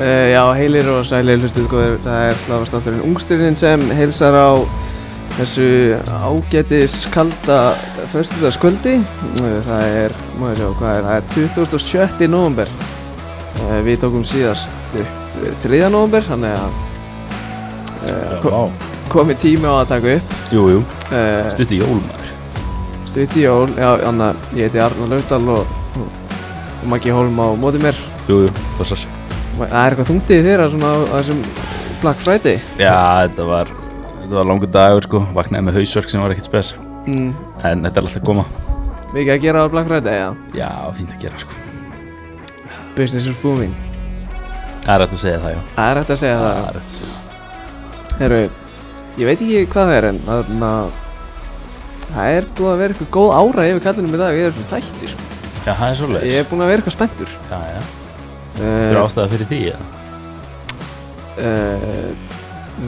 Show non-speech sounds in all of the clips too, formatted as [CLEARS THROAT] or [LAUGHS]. Uh, já, heilir og sælir hlustuð góður, það er hlaðvastátturinn Ungsturinn sem heilsar á þessu ágætis kalda förstudagskvöldi. Uh, það er, má ég sjá, hvað er, það er 27. november. Uh, við tókum síðast upp 3. november, þannig að uh, ko- Vá, komið tími á að taka upp. jú, jú, Uh, stutt í jólmar Stutt í jól, já, anna, ég heiti Arnar Laudal og, og Maggi Holm á móti mér. Jú, jú, passar Það er eitthvað þungtið þér að svona á á þessum Black Friday. Já, þetta var, þetta var langur dagur sko Vaknaði með hausverk sem var ekkert spes Mm. En þetta er alltaf að koma Mikið að gera á Black Friday, já. Já, fínt að gera sko Business is booming. Það er hægt að segja það, já Það er hægt að segja Það það. er hægt að segja það. Herru, ég veit ekki hvað það er en þarna... Það er búið að vera eitthvað góð ára yfir kallinum í dag, ég er fyrir þætti, sko. Já, það er svolítið Ég er búin að vera eitthvað spenntur. Já, já, það Uh, er ástæða fyrir því, já uh,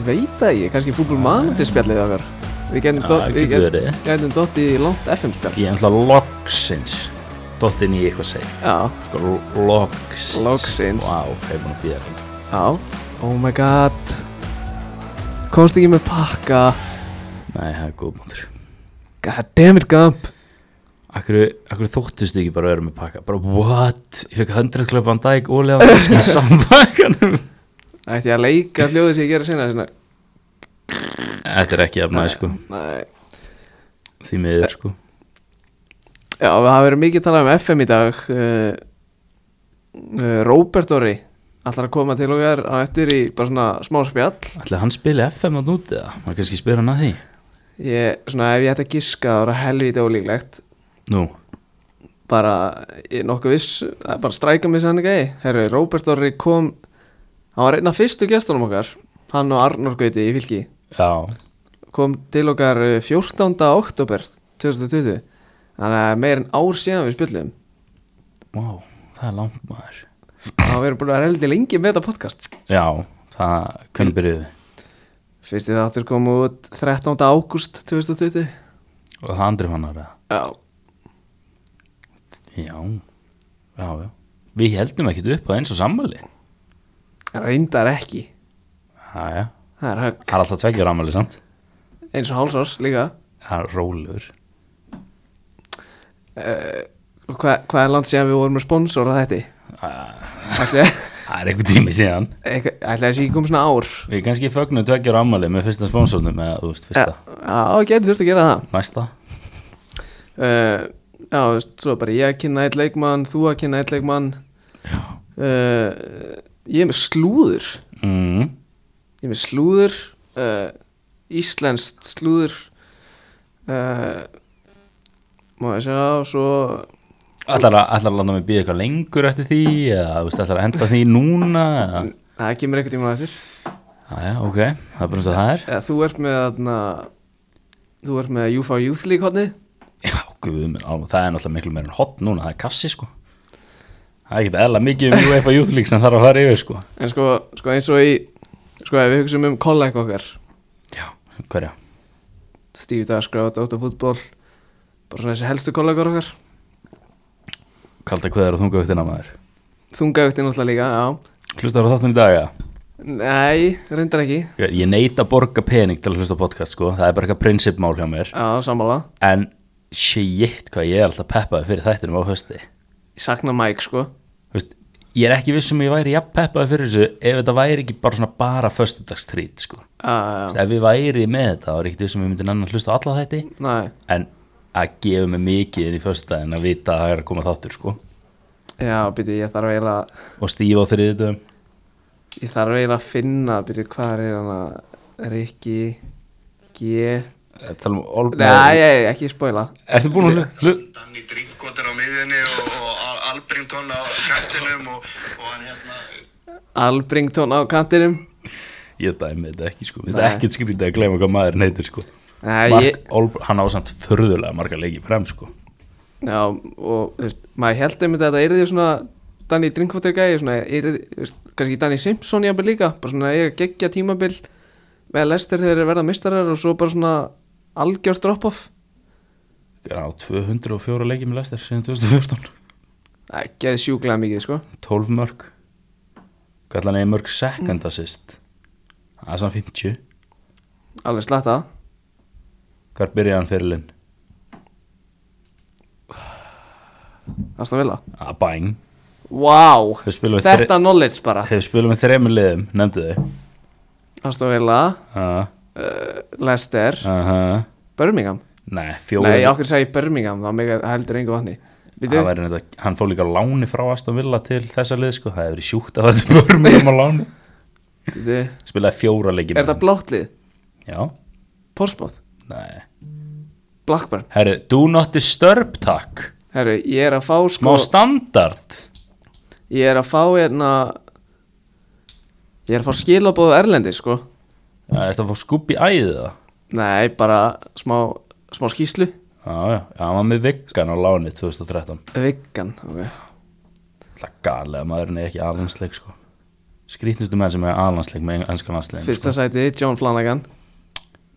veit það ekki, kannski fútbol manager spjallið okkar. Við getum Það dott- er við ekki get- verið gætum dottið í langt FM spjall. Ég er alltaf loksins Dottinn í eitthvað seg Já, Sko, lo- loksins Loksins. Vá, hefur búin að býða fyrir já. Oh my god. Komst ekki með pakka. Nei, það er góð búndur God damn it, Gump. Akkur, akkur þóttust ekki bara að vera með pakka bara what, ég fekk 100 klöpan dæk og [LAUGHS] lefa í sambækanum Ætti ég að leika hljóðið sem ég gera sinna, svona, þetta er ekki af næ sko, næ. því miður sko Já, við hafa verið mikið talað um FM í dag uh, uh, Robert Orri ætlar að koma til okkar á eftir í bara svona smá spjall ætlaði hann spila FM að núti það, maður kannski spyr hann að því ég, svona ef ég ætti að giska þá er það helviti ólíklegt nú, bara ég er nokkuð viss það er bara stræka mig sannig að ég herru, Robert Orri kom hann var einn af fyrstu gestunum okkar hann og Arnór Gauti í fylki já, kom til okkar eh, 14. oktober 2020 þannig að meir en ár síðan við spjöllum wow það er langt maður þá verður búin að vera heldur lengi með þetta podcast já, það, hvernig byrjuðu þið? Fyrsti þáttur kom út 13. ágúst 2020 og það andri fann aðra, Já, já já, já, við heldum ekkert upp á eins og sammæli, reyndar ekki já, já Það er högg, það er alltaf tveggjur ammæli samt eins og hálsás líka það er rólur, uh, hva, Hvað er land síðan við vorum með sponsor á þetta? Ah. Ætli það er einhver tími síðan ætli að þessi ekki kom svona ár Við kannski fögnum tveggjur ammali með fyrsta spónsornum eða, þú veist, fyrsta, Já, getur þurft að gera það næsta uh, Já, þú veist, svo bara ég að kynna eitt leikmann Þú að kynna eitt leikmann Já uh, Ég er með slúður mm, Ég er með slúður uh, Íslenskt slúður uh, Má ég sjá Svo Ætlar að, ætlar að landa mig býða eitthvað lengur eftir því eða, þú veist, ætlar að henda því núna eða? Það kemur einhvern tímann eftir Jæja, ok, það er bara eins og það er Eða, Þú ert með þarna Þú ert með UFA Youth League hodni Já, guð, minn, alveg, það er náttúrulega miklu meira en hot núna, það er kassi, sko Það er ekkert eðla mikið um UEFA Youth League sem þarf að fara yfir, sko En sko, sko eins og í Sko ef við hugsaum um kollega okkar Já, hverja? Steve Dasgrá, Dota Fútból Bara svona þessi helstu kollega okkar Kalda hvað er að þunga vittina maður Þungaugtin náttúrulega líka, já Hlustar á þáttin í dag, já Nei, reyndar ekki Ég neita að borga pening til að hlusta á podcast, sko Það er bara eitthvað prinsipmál hjá mér Já, sammála En shit, hvað ég er alltaf peppaði fyrir þættinum á hösti Ég sakna Mike sko Þú veist, ég er ekki viss um að ég væri jafn peppaði fyrir þessu ef þetta væri ekki bara svona bara föstudagstrít sko. Þú Já, já, veist, ef við væri með þetta þá er ekkert viss um að við myndum annan hlusta á alla þetta næ en að gefa mig mikið inn í föstudagin að vita að það er að koma þáttur sko. Já, byrju, ég þarf eiginlega og stífa á þriðutum Ég þarf eiginlega að finna, byrju, hvað er hann að Rikki G Nei, Nei, ég, ekki spoila Ertu búin að hlusta? Hlu? Danni Drinkwater á miðjunni og, og Al- Albrington á kattinum og, og hann hérna Albrington á kantinum Ég dæmi þetta ekki sko, Mér finnst það ekkert skrítið að gleyma hvað maður neytir sko Nei, Mark, ég, Olb, hann á samt förðulega marga leikið frem sko já, og þú veist, maður held einmitt að þetta yrði svona Danny Drinkwater gæði, svona yrði, þú veist, kannski Danny Simpson jafnvel líka, bara svona eiga geggja tímabil með lestir þegar þeir verða mistarar og svo bara svona algjör drop-off Það er á 204 leikið með lestir síðan 2014 ekki að sjúklega mikið, sko 12 mörg Hvað ætla hann eigi mörg second Mm. assist? Það er svona 50 Alveg slatta Hvar byrjaði hann fyrirlinn? Aston Villa Að Ah, bæn Wow Þau spilum við Þetta knowledge bara Þau spilum við þremur liðum, nefndu þau Aston Villa Aha, uh, Leicester aha Birmingham Nei, Nei, fjóri okkur sagði ég Birmingham Þá megar heldur engu vatni Býtu væri, neitt, Hann fór líka á láni frá Aston Villa til þessa lið sko. Það hefur verið sjúkt að þetta börum um á láni Býtu Er Spilaði fjóra leiki með þetta bláttlið? þeim. Já, Portsmouth nei Blackburn Herru, do not disturb takk Herru, ég er að fá Má sko standard Ég er að fá hérna Ég er að fá skilabóðu Erlendi sko Það er þetta að fá skúb í æðið það Nei, bara smá, smá skýslu Já, já, já, hann var með Viggan á láni 2013 Viggan okay. Það galega, maðurinn er ekki alansleik sko Skrýtnustu menn sem er alansleik með ennskan landslegin Fyrsta sæti, John Flanagan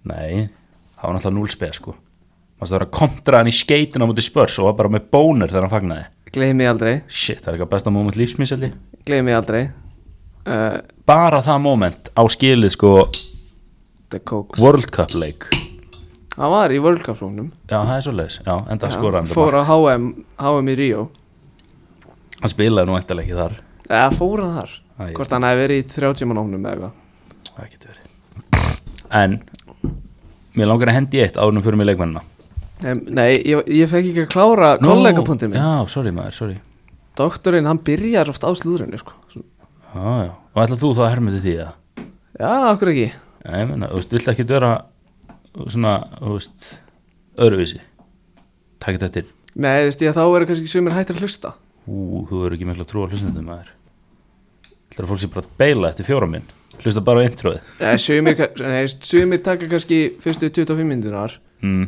Nei, það var náttúrulega núlspeð sko Mástu vera að kontra hann í skeitin á móti spörs og var bara með bónur þegar hann fagnaði Gleimi aldrei, Shit, það er eitthvað besta moment lífsmiselli gleimi aldrei uh, Bara það moment á skilið sko The Coke World Cup leik Hann var í World Cup rónum Já, það er svoleiðis, já, enda skora hann Fór á HM, HM í Ríó Hann spilaði nú endalega ekki þar Eða fór hann þar Æ, ég- Hvort hann hefði verið í 30 manóknum eða eitthvað Það getur verið En Mér langar að hendi í eitt árunum fyrir mig leikmennina Em, Nei, ég, ég fekk ekki að klára Nú, kollegapunktin minn Já, sorry maður, sorry Doktorinn, hann byrjar oft á slúðrunni sko. Já, já Og ætla þú þá að herma til því að Já, okkur ekki Já, ég meina, þú veist, vilt ekki vera Svona, þú veist Öðruvísi Takk þetta eftir Nei, þú veist ég að þá eru kannski sumir hættir að hlusta Ú, þú verður ekki mikla trú á hlustendum maður Þetta er fólk sem bara að beila eftir fjóra minn Hlusta bara á introið Nei, sumir, ka- nei, sumir taka kannski fyrstu 25 mindunar mm.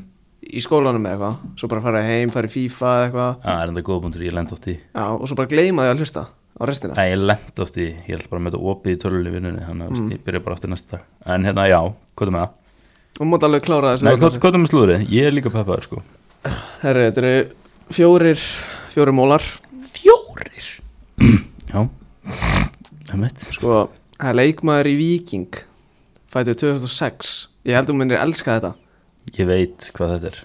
í skólanum eða eitthvað Svo bara fara heim, fara í FIFA eða eitthvað Það er enda góða búndur, ég lend oft í Já, og svo bara gleyma því að hlusta á restina Æ, ég lend oft í, ég held bara að mæta opið í tölvölu vinnunni Þannig að mm. ég byrja bara aftur næsta dag En hérna, já, hvað er með það? Hún mátt alveg klára þessu Nei, hvað hvað er með slúðrið? Ég er líka peppaður sko Herru, þetta eru fjórir, fjórir mólar Fjórir Já Það er mitt Sko, það er leikmaður í Viking Fættu 2006 Ég held að hún munir elska þetta Ég veit hvað þetta er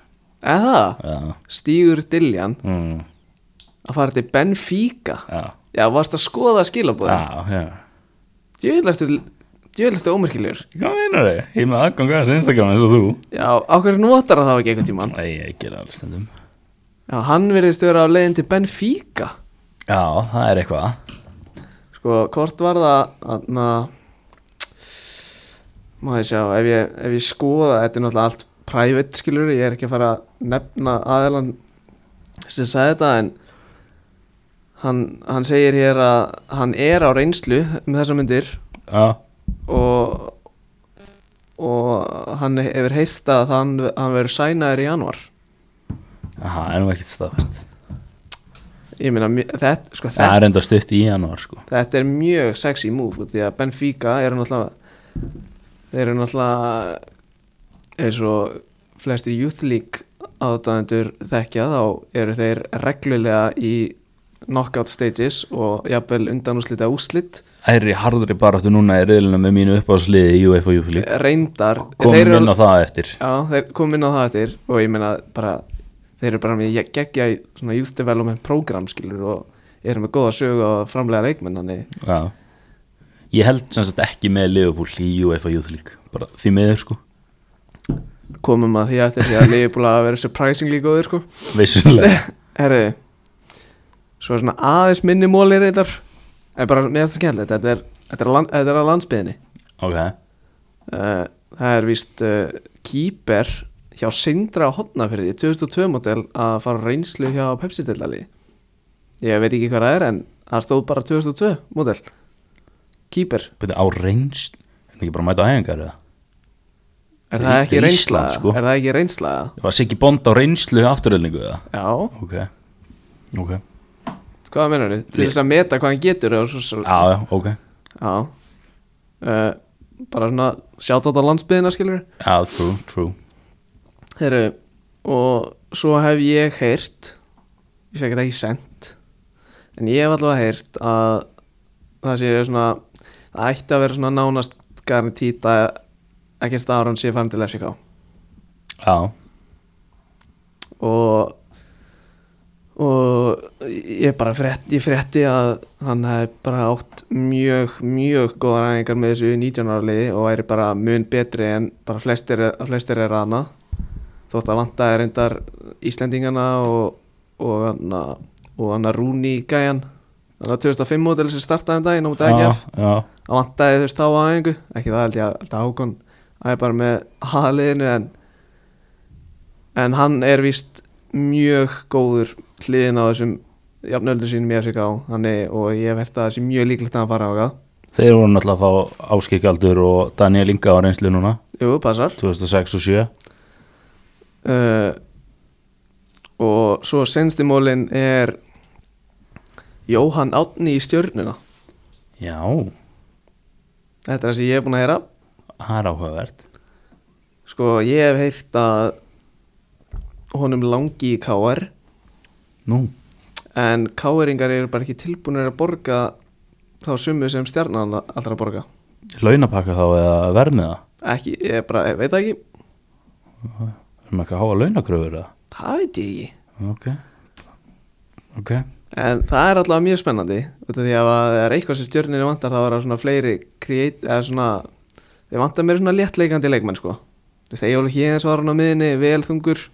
Eða það? Já, Stígur Diljan mm, að fara til Benfica já, Já, varst að skoða skilabóð já, já. Djöðlegt og ómerkilegur Hvað meinar þau? Ég er með aðgang að þessu Instagram eins og þú Já, á hverju notar það þá ekki einhvern tímann Nei, ég gera alveg stundum Já, hann virðist vera á leiðin til Benfica Já, það er eitthvað Sko, hvort var það Anna Má ég sjá, ef ég, ef ég skoða Þetta er náttúrulega allt private skilur Ég er ekki að fara að nefna aðelan sem sagði þetta en hann, hann segir hér að hann er á reynslu um þessar myndir Já, og og hann hefur heyrt að hann, hann verður sænaður í januar það er nú ekkert staðfest ég meina, mj- þetta, sko, þetta Það er enda stutt í janúar sko Þetta er mjög sexy move því að Benfica eru náttúrulega þeir eru náttúrulega eins og flestir Youth League aðdáðendur þekkja þá eru þeir reglulega í knockout stages og jafnvel undanúslita úslit Æri harðri baráttu núna í riðluna með mínu uppáðsliði í UEFA Youth League reyndar Eh, þeir Komum eru- inn á það eftir Já, þeir komum inn á það eftir og ég meina bara þeir eru bara með geggja í svona Youth Development program skilur og eru með góða sögu og framlega leikmenn þannig Já Ég held sem sagt ekki með Liverpool í UEFA Youth League Bara því meður sko komum að því eftir því að Leifbúla að vera surprisingly góður sko Vissulega [LAUGHS] [LAUGHS] Herðu Svo er svona aðeins minni mólir reyndar En bara mér finnst það skemmtilegt Þetta er, þetta er, land, þetta er að landsbyðinni Ok uh, Það er víst uh, Kýper hjá Sindra á Hotnafyrði 2002 model að fara á reynslu hjá Pepsi-dildali Ég veit ekki hvað það er en það stóð bara 2002 model Kýper Byrja á reynsl En ekki bara að mæta á æfingar eða Er Þetta það er ekki Ísland, reynsla? sko. Er það ekki reynsla? Var Siggi Bond á reynslu afturöðningu eða Já, Sko, Ok Ok hvað mennur þið? Til þess að meta hvað hann getur og svo, svo, Já já ok Já uh, Bara svona sjátátt á landsbyðina skilur Já true true Heru, Og svo hef ég heyrt Ég fekk þetta ekki sent En ég hef allavega heyrt að Það sé svona það ætti að vera svona nánast garantít að ekkert Aron sé farin til FCK Já, og og ég bara frétt, ég frétti að hann hefði bara átt mjög, mjög góðar æfingar með þessu 19 ára liði og væri bara mun betri en bara flestir, flestir er hana þótt að vantaði reyndar Íslendingana og og hann og hann að Rúni gæjan hann að 2005 mótel sem startaði um daginn á mútið já, ekki já, að vantaði þú veist þá aðeingu ekki það held ég að held að Hákon að er bara með haliðinu en en hann er víst mjög góður hliðin á þessum jafnöldur sínum ég að sig á hann er, og ég hef hert að það sé mjög líklegt að hann fara á það þeir voru náttúrulega að fá áskikjaldur og Daniel Inga á reynslu núna Jú, passar 2006 og 7 uh, og svo senstimólin er Jóhann Átni í stjörnuna Já, þetta er það sem ég hef búin að heyra það er áhugavert sko ég hef heyrt að honum langi í KR Nú, en káeringar eru bara ekki tilbúinir að borga þá sumu sem stjarnan allra að borga launapakka þá eða vermiða ekki, ég bara, ég veit það ekki Erum ekki að háa launakröfur eða? það veit ég ekki Ok Ok, en það er alltaf mjög spennandi út af því að ef það er eitthvað sem stjörninu vantar þá er það svona fleiri create, eða svona þeir vantar mér svona léttleikandi leikmenn sko þú veist, Ejólu Híðins var hann á miðinni vel þungur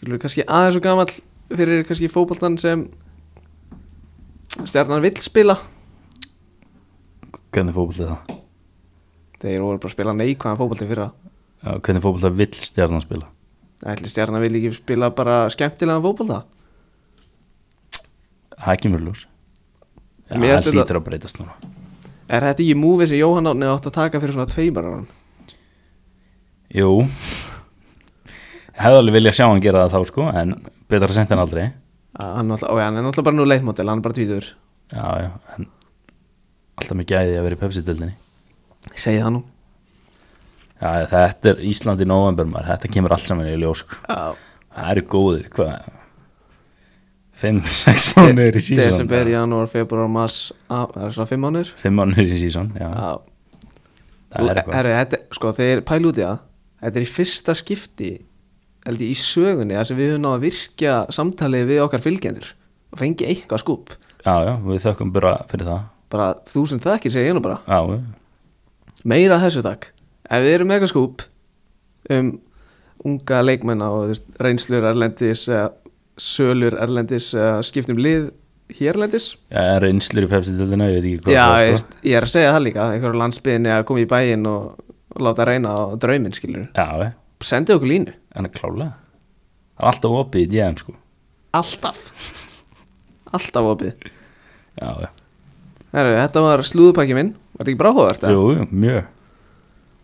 skilur kannski aðeins og gamall fyrir kannski fótboltan sem stjarnan vill spila hvernig fótbolta er það? þeir voru bara að spila neikvæðan fótbolti fyrir það Já, hvernig fótbolta vill stjarnan spila? Ætli stjarnar vil ekki spila bara skemmtilega fótbolta Það er ekki mjög ljós Já, Mér það finnst þetta- hlýtur að breytast núna Er þetta ekki múfið sem Jóhann Átni átt að taka fyrir svona tveimur árum? Jú Ég hefði alveg viljað sjá hann gera það þá sko en betra sent en aldrei Að Hann, náttúrulega- ó, já, hann er náttúrulega bara nú leitmótil, hann er bara tvítur Já, já, en alltaf mikið æði að vera í Pepsi-dildinni Ég segi það nú Já, já, þetta er Ísland í november maður, þetta kemur allt saman í ljós sko Já, Það eru góðir, hvað 5-6 mánuðir í sísón Desember, janúar, februar, mars á, Það er svona fimm mánur 5 mánuðir í sísón, já, Já, það er eitthvað Herru, þetta, sko, þeir pælu út í það Þetta er í fyrsta skipti held ég, í sögunni þar sem við höfum náð að virkja samtalið við okkar fylgjendur og fengi eitthvað skúp Já, já, við þökkum bara fyrir það bara þúsund þakkir segi ég nú bara Já, meira af þessu takk ef við erum með eitthvað skúp um unga leikmenn og þú veist, reynslur erlendis eða sölur erlendis eða skiptum lið hérlendis já, er reynslur í Pepsi-dildina, ég veit ekki hvað já, ég, það er, sko. veist, ég er að segja það líka einhverju landsbyðinni að koma í bæinn og láta reyna á drauminn skilur Já, já, sendi okkur línu, en er klálega Það er alltaf opið í DM, sko [LAUGHS] alltaf alltaf opið Já, já, Heru, þetta var slúðupakki minn, var þetta ekki bráhóðvert? jú, jú, mjög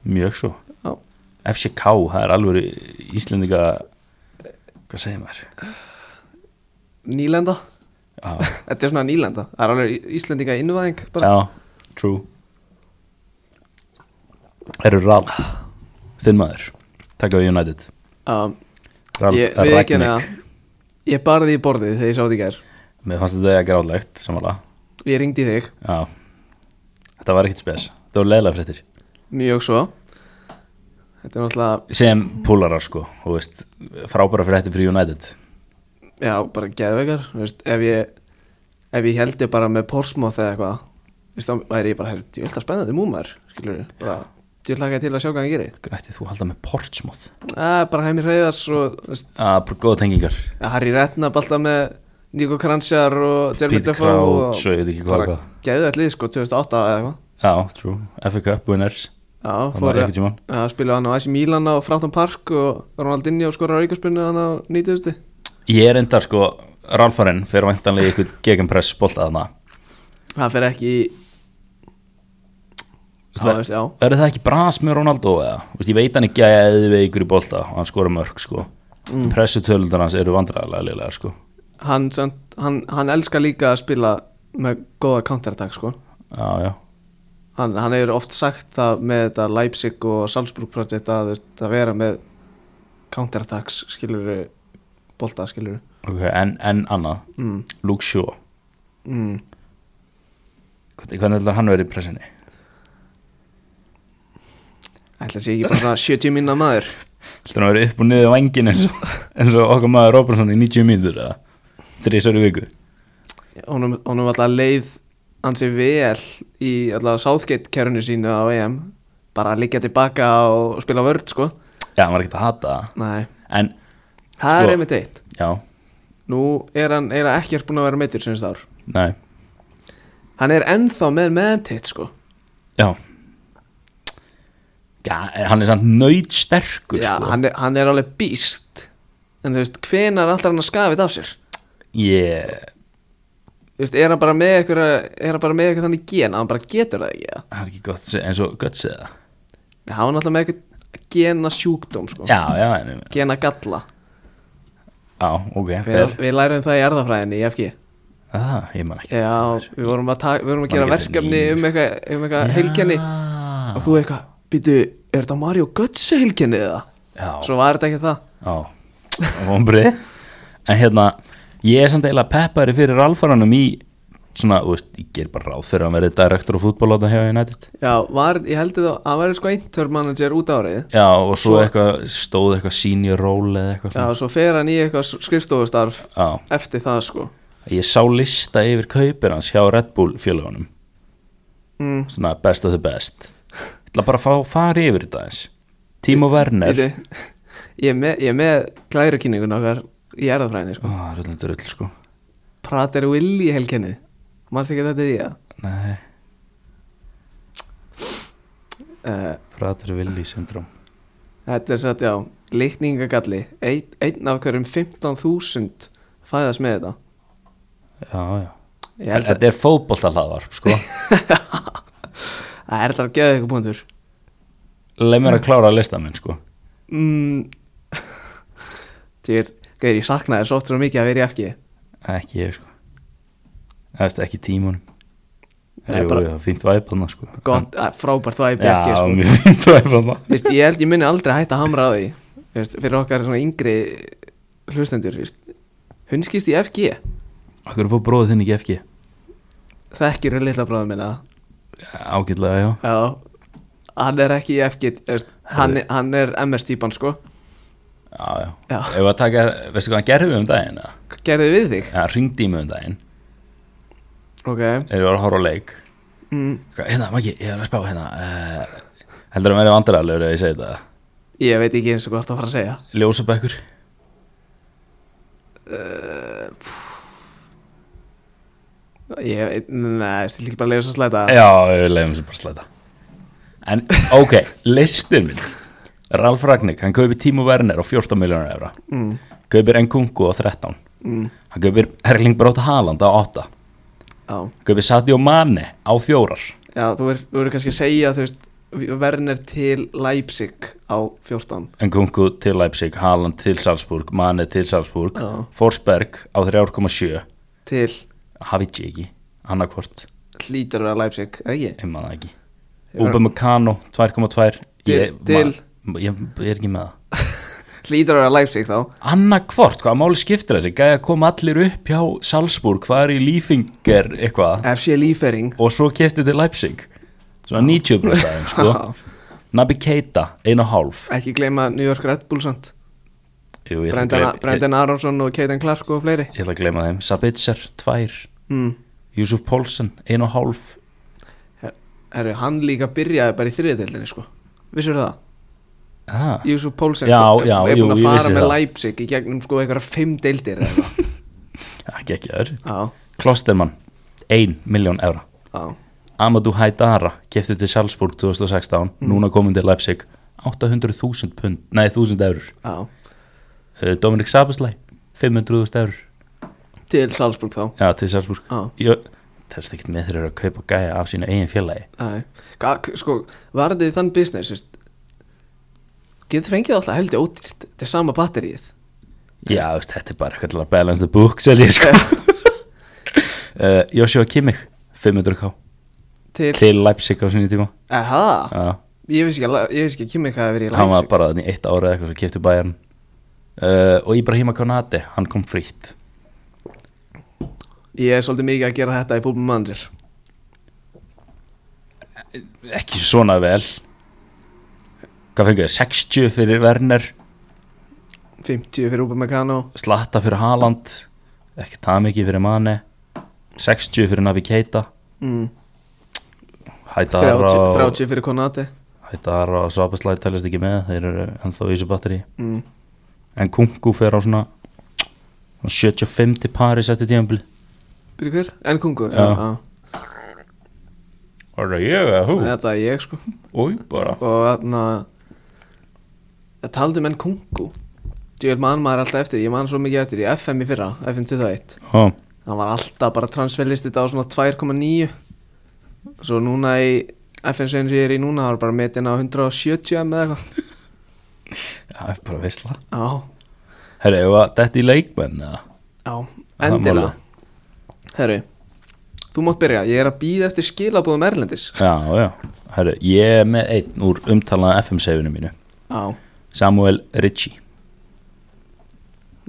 Mjög sko. svo Já. FCK, það er alveg íslendinga Hvað segir maður? nýlenda, Já, þetta er svona nýlenda það er alveg íslendinga innvæðing bara. já, true Eru Ralf Þinn maður, taka við United Um, Ralf ég, við ekki Ragnik. hana ég barði í borðið þegar ég sá þetta í gær Mér fannst þetta gráðlegt, samanlega ég ringdi í þig, Já, þetta var ekkert spes Þetta var leiðlega fréttir mjög svo þetta er náttúrulega Sem púlarar sko, þú veist Frábæra fréttir fyrir United já, bara geðveikar þú veist, ef ég ef ég held ég bara með Portsmouth eða eitthvað þú veist, þá væri ég bara, herru, ég held að spennandi múmar skilur, bara, ég hlaka til að sjá hvað hann gerir Grætti þú að halda með Portsmouth að, bara Heimi Hreyðars og þú veist, Já, bara góða tengingar að Harry Redknapp alltaf með Nico Kranjčar og Jeremy Peter Defoe og Crouch og ég veit ekki hvað bara hvað. geðveiklið, sko, 2008 eða eitthvað Já, true, FA Cup winners Já, Það fór var að einhvern tímann. að spila hann á AC Milan á Fráttan Park og Ronaldinho skorar aukarspunni hann á 90. Ég er enda sko, Ralfarinn Fyrir væntanlega ykkur gegenpress bolta þarna Það fer ekki í Já, veist, já, Er það ekki bras með Ronaldo eða? Þú veist, ég veit hann ekki að ég eða ykkur í bolta og hann skora mörg sko mm. Pressutölundar hans eru vandræðalega liðlega sko hann, samt- hann, hann elskar líka að spila með góða counterattack sko Já, já, hann, hann hefur oft sagt það með þetta Leipzig og Salzburg project að, þú veist, að vera með counterattacks skilur bolta skilur ok, en, en annað mm, Luke Shaw mm. Hvernig hvernig ætlar hann verið í pressinni? Ætla sé ekki bara svona 70 mínna maður Ætlar hann verið upp og niður á engin eins og, [LAUGHS] eins og okkar maður Robertson í 90 mínútur eða þrísar í viku Honum, honum alltaf leið ansi vel í alltaf Southgate kerfinu sínu á EM Bara að liggja tilbaka og spila vörð sko Já, hann var ekkert að hata það Nei, En, það Sko. er einmitt eitt já, Nú er hann, er hann ekkert búin að vera meittur sinns ár nei, Hann er ennþá með meðtitt sko já Já, en hann er samt nöyt sterkur Já, sko. hann er, hann er alveg býst En þú veist, hvenar allar hann að skafið af sér? Ég, Þú veist, er hann bara með eitthvað Er hann bara með eitthvað þannig gen að hann bara getur það ekki eða? hann er ekki gott eins og gött segja Nei, hann var náttúrulega með eitthvað gena sjúkdóm sko. Já, já, en, gena galla já, ok, við, fer við lærum það í erðafræðinni í FG Það, Ah, ég man ekki Já, við vorum að, ta- við vorum að gera Margir verkefni þeir um eitthvað um eitthva heilkenni Já, og þú eitthvað, býtu, er þetta Mario Götze heilkenni eða? já Svo var þetta ekki það Já, vonbrið En hérna, ég er samt eiginlega peppari fyrir alfaranum í svona, þú veist, ég ger bara ráð fyrir að hann verði direktor og fútbolóta hjá United Já, var, ég heldur það, hann væri sko eintur manager út árið Já, og svo, Svo- eitthvað, stóð eitthvað senior role eða eitthvað Já, svona. svo fer hann í eitthvað skrifstofustarf Já, eftir það sko ég sá lista yfir kaupir hans hjá Red Bull fjölugunum mm, svona best of the best Ég ætla bara að fá fara yfir þetta eins Timo Werner býtu, Ég er með, ég er með glærukynninguna okkar í erðafræðinni sko Á, rullandur rull sko Prater Willi heilkenni Manstu ekki þetta í það? Nei, Eh, Uh, Prater Willi syndrom Þetta er satt, já, líkningagalli Ein, Einn af hverjum 15.000 fæðast með þetta Já, já Ég held að Þetta er fótbolta [LAUGHS] sko það er þetta að geða ykkur búindur Leif mér að klára að lista minn sko mm. [LAUGHS] Þegar, gauður, ég saknaði svo oft svo mikið að vera í FG ekki ég sko Það veist ekki tímunum Nei, Jú, bara- bara... fínt væp hann sko Gott, að, frábært væp í Já, FG sko. mjög fínt væp hann Vist, Ég held ég muni aldrei hætta að hamra á því Vist, Fyrir okkar svona yngri hlustendur vist. Hún skýst í FG Akkur fór bróðið þinn ekki FG Þekkir er litla bráðum minna Ágætlega, já Já Hann er ekki í FG vist, hann, hann er MS-típan sko Já, já, Já. Ef að taka, veistu hvað hann gerði um daginn eða? Hvað gerði við þig? Já, hann ringdi í mig um daginn Ok Þegar ég var að horfa á leik mm, Hvað, Hérna, Maggi, ég er að spá hérna uh, Heldur að vera vandrarlegur ef ég segi þetta Ég veit ekki eins og hvað það fara að segja Ljósabekkur Uh, Ég veit, nei, stil ekki bara að leiða þess að slæta Já, við leiðum sem bara slæta En, ok, listin minn Ralf Ragnik, hann kaupir Timo Werner á 14 miljónar evra mm, kaupir Nkunku á 13 mm, hann kaupir Erling Bróta Haaland á 8 hann Já, kaupir Sadio Mane á 4 já þú verður þú verður kannski að segja þú veist Werner til Leipzig á 14 Nkunku til Leipzig, Haaland til Salzburg Mane til Salzburg, Já. Forsberg á 3,7 Til Havici ekki, annarkvort hlýtur að vera Leipzig, eða ekki? [LAUGHS] ég manna ekki Ég var- Upamecano 2,2 ég, Til- ma- ég, ég er ekki með það Hlýtur að vera Leipzig þá annarkvort, hvað máli skiptir þessi gæja kom allir upp hjá Salzburg hvað er í Lífinger eitthvað FC Lífering og svo kefti til Leipzig svona 90 bröðaðin [LAUGHS] sko Nabi Keita, einu og hálf Ekki gleyma New York Red Bull samt Jú, ég, ætla að Brendan, gleyma, ég, Brendan Aronsson og Keiten Clark og fleiri ég ætla að gleyma þeim Sabitzer, tvær mm. Júsuf Pólsen, einu og hálf Herru, hann líka byrjaði bara í þriðdeildinni sko Vissur það? ah, Júsuf Pólsen Já, er- sko. já, er búin jú, að ég fara vissi með það. Leipzig í gegnum sko einhverja fimm deildir eða eitthvað. Ekki ekki öður Já, Klostermann, ein miljón evra já, Amadou Haidara, kefti til Salzburg 2016 Mm. Núna komin til Leipzig 800.000 pund, nei 1000 eurur já Uh, Dominik Sabaslæ, 500.000 eurur Til Salzburg þá Já, til Salzburg Já, Jö, Þess ekkert með þeir eru að kaupa gæja af sínu eigin félagi já Sko, varðið þann business veist, Getur fengið alltaf heldur ódýrt Þetta er sama batterið Já, þú veist, þetta er bara eitthvað til að balance the book selja, [LAUGHS] sko uh, Joshua Kimmich 500k Til, til Leipzig á sinni tíma aha Já, Ég vissi ekki, að Le- ég vissi ekki að Kimmich hafi verið í hann var Leipzig bara þannig eitt ára eða eitthvað svo kipti bæjarn uh, og Ibrahima Konate, hann kom frítt Ég er svolítið mikið að gera þetta í Búbum Manager ekki svona vel hvað fengið þið 60 fyrir Werner 50 fyrir Upamecano Slatta fyrir Haaland ekki það mikið fyrir Mane 60 fyrir Navi Keita mm. 30, Hætara 30 fyrir Konate Hætara og Svabaslæði talist ekki með þeir eru ennþá í þessu batteri mm. en Kungu fyrir á svona svona 75 til Paris eftir tíðanbili Byrju hver? Enkungu? Já. Var það ég eða Þetta er ég sko Új, bara Og þarna Það taldi um Enkungu Ég man maður alltaf eftir, því, ég man svo mikið eftir því, Í FM í fyrra, FM 21 Ó, hann var alltaf bara transferlistið á svona 2,9 svo núna í FN sem ég er í núna það var bara metin á 170 með eitthvað Já, ég er bara að veistla já, Herri, ef að þetta í leikmenn eða? já, Það er endilega málið. herru, þú mátt byrja ég er að býða eftir skilabóðum Erlendis Já, já Herri, ég er með einn úr umtalaða FM-seifinu mínu já, Samuel Ritchie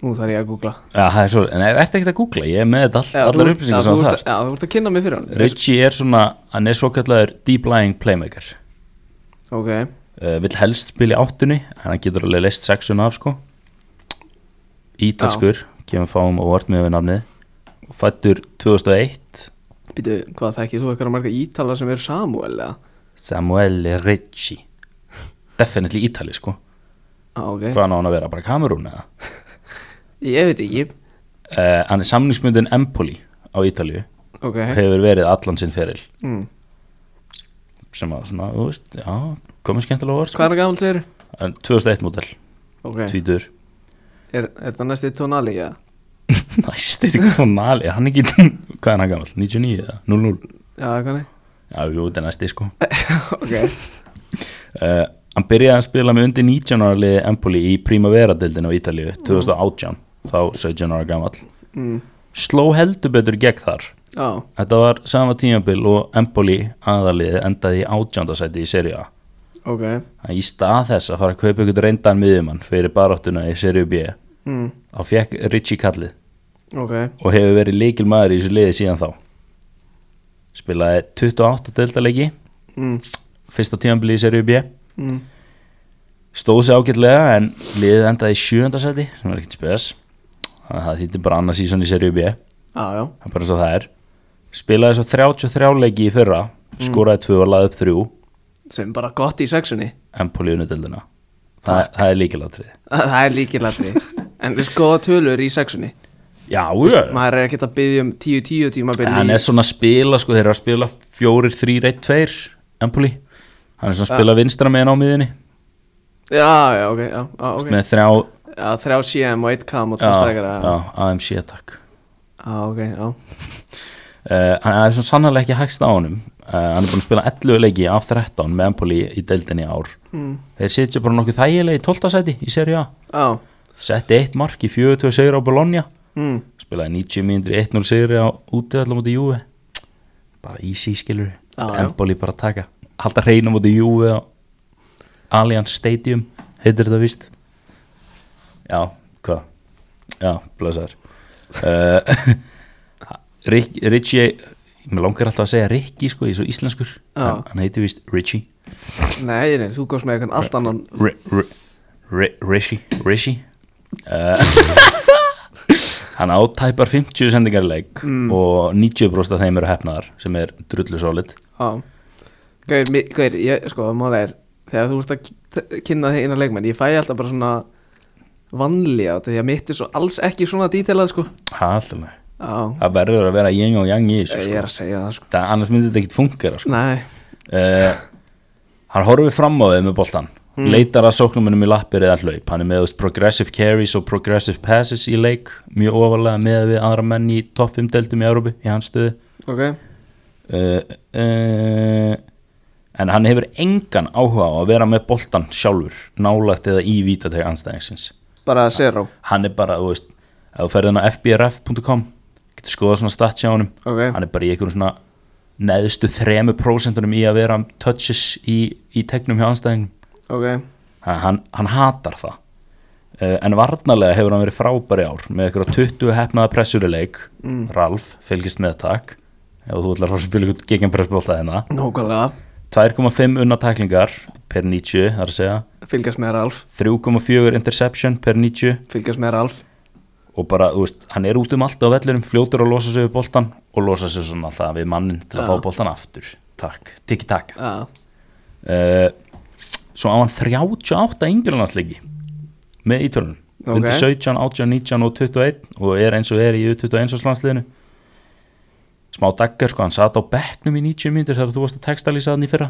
nú þarf ég að googla Já, það er svo En ef ertu ekkert að googla, ég er með þetta all, Já, þú allar ert- já, upplýsingar þú sem ert- það já, þú ert að kynna mig fyrir hann Ritchie er svona, hann er svo kallaður deep-lying playmaker ok, uh, Vill helst spila í áttunni En hann getur alveg leist sexuna af, sko Ítalskur, kemur fáum og vart með við nafnið Fættur 2001 býtu, hvað þekkir þú eitthvað marga ítala sem eru Samuel eða? Samuel Ritchie Definitely Ítali, sko já, ok, Hvað á hann að vera, bara kamerún eða? ég veit ekki Uh, hann er samningsmyndin Empoli á Ítalju ok, og hefur verið allan sinn feril mm. sem að svona, þú veist, já, komið skemmtilega á orð hvað er gammal þeir? En 2001 mótel, ok, tvítur [LAUGHS] er, er það næstu tónali, já? Næst, þetta er ekki svona nali, hann er ekki [LAUGHS] hvað er hann gamall, 99 eða 00 já, hvað nei? [LAUGHS] Já, jú, þetta er næsti sko ok uh, Hann byrjaði að spila með undir 19 ára liði Empoli í Primavera-dildinu á Ítalju 2018, þá 17 ára gamall Mm, Sló heldur betur gegn þar Já, Þetta var sama tímabil og Empoli aðaliði endaði í átjándasæti í Serie A ok Þannig í stað þess að fara að kaupa ykkur reyndan miðjumann fyrir baráttuna í Serie B mm, þá fekk Richie kallið Ok, og hefur verið leikil maður í þessu liði síðan þá spilaði 28 deltaleiki mm, fyrsta tímanbili í Serie B mm, stóð sér ágætlega en liðið endaði í sjöndasæti sem er ekkert spes þannig að það þýtti bara annað sísón í Serie B það já, já, er bara eins og það er spilaði svo 33 leiki í fyrra Mm. skoraði tvö og laði upp þrjú sem bara gott í sexunni [LAUGHS] Empoli unudeldina það, það er líkilatrið Það er [LAUGHS] líkilatri En við skoða tölur í sexunni já, já Maður er ekkert að byggja um 10-10 tíma En hann er svona að spila sko, þeir eru að spila fjórir, þrýr, eitt, tveir Empoli, hann er svona að spila vinstra með hann á miðinni, Já, já, ok, já, já, ok með þrjá Já, þrjá CM og eitt kam og tvo já, strækara já, AMC attack já, ok, já uh, hann er svona sannlega ekki hægst á honum uh, hann er búin að spila 11 leiki af 13 með Empoli í deildinni í ár mm, þeir sitja bara nokkuð þægilega í 12. sæti í Serie A, Já, setti eitt mark í 42 sigur á Bologna, mm, spilaði 90 mínútur í 1-0 sigur á úti allar múti Juve bara easy skilur Já, já. Empoli bara að taka halda hreinu múti Juve á Allianz Stadium heitir þetta vist já, hvað já, blöðsar uh, [LAUGHS] Rick, Richie mér langar alltaf að segja Ricky sko, ég er svo íslenskur Já. hann, hann heitir vist Richie nei, nei, þú góðst með eitthvað allt annan Ri- Ri- Ri- Rishi Rishi uh, [LAUGHS] hann átæpar 50 sendingarleik mm. og 90% af þeim eru hefnaðar sem er drullu solid Já Gauir, mi- Gauir, ég, sko, mála er Þegar þú ert að k- kynna þeir eina leikmenn Ég fæ alltaf bara svona vanlíða Því að mitt er svo alls ekki svona dítelað, sko ha, alltaf nei. Já, það verður að vera yin og yang í þessu ég sko. er að segja það sko það, annars myndir þetta ekkit fungera sko. Nei, uh, hann horfir fram á þau með boltan Mm. leitar að sóknumunum í lappir eða hlaup hann er með þú veist, progressive carries og progressive passes í leik mjög ofarlega með við aðra menn í topp 5 deltum í Európi í hans stöðu ok uh, uh, en hann hefur engan áhuga á að vera með boltan sjálfur nálægt eða í vítateg anstæðingsins Bara zero, hann er bara, þú veist ef þú ferðin á fbrf.com getur skoðað svona stats hjá honum ok hann er bara í einhverjum svona neðstu 3% í að vera touches í, í tegnum hjá anstæðingum Ok, hann, hann, hann hatar það uh, en varnarlega hefur hann verið frábæri ár með einhverja 20 hefnaða pressurileik mm. Ralf, fylgist með takk ef þú ætlar að fara að spila ykkur gegnpressbólta hérna nógulega 2,5 unna tæklingar per 90 þar að segja Fylgjast með Ralf 3,4 interception per 90 Fylgjast með Ralf og bara, þú veist, hann er út um allt á vellinum fljótur að losa sig við boltan og losa sig svona alltaf við mannin til að Já. fá boltan aftur takk, tikki takk Já, uh, svo á hann 38 yngjölandsleiki með ítölunum Ok. undir 17, 18, 19 og 21 og er eins og er í 21 landsliðinu smá daggar sko, hann satt á bekknum í 90 mínútur þegar þú varst að textalýsa hann í fyrra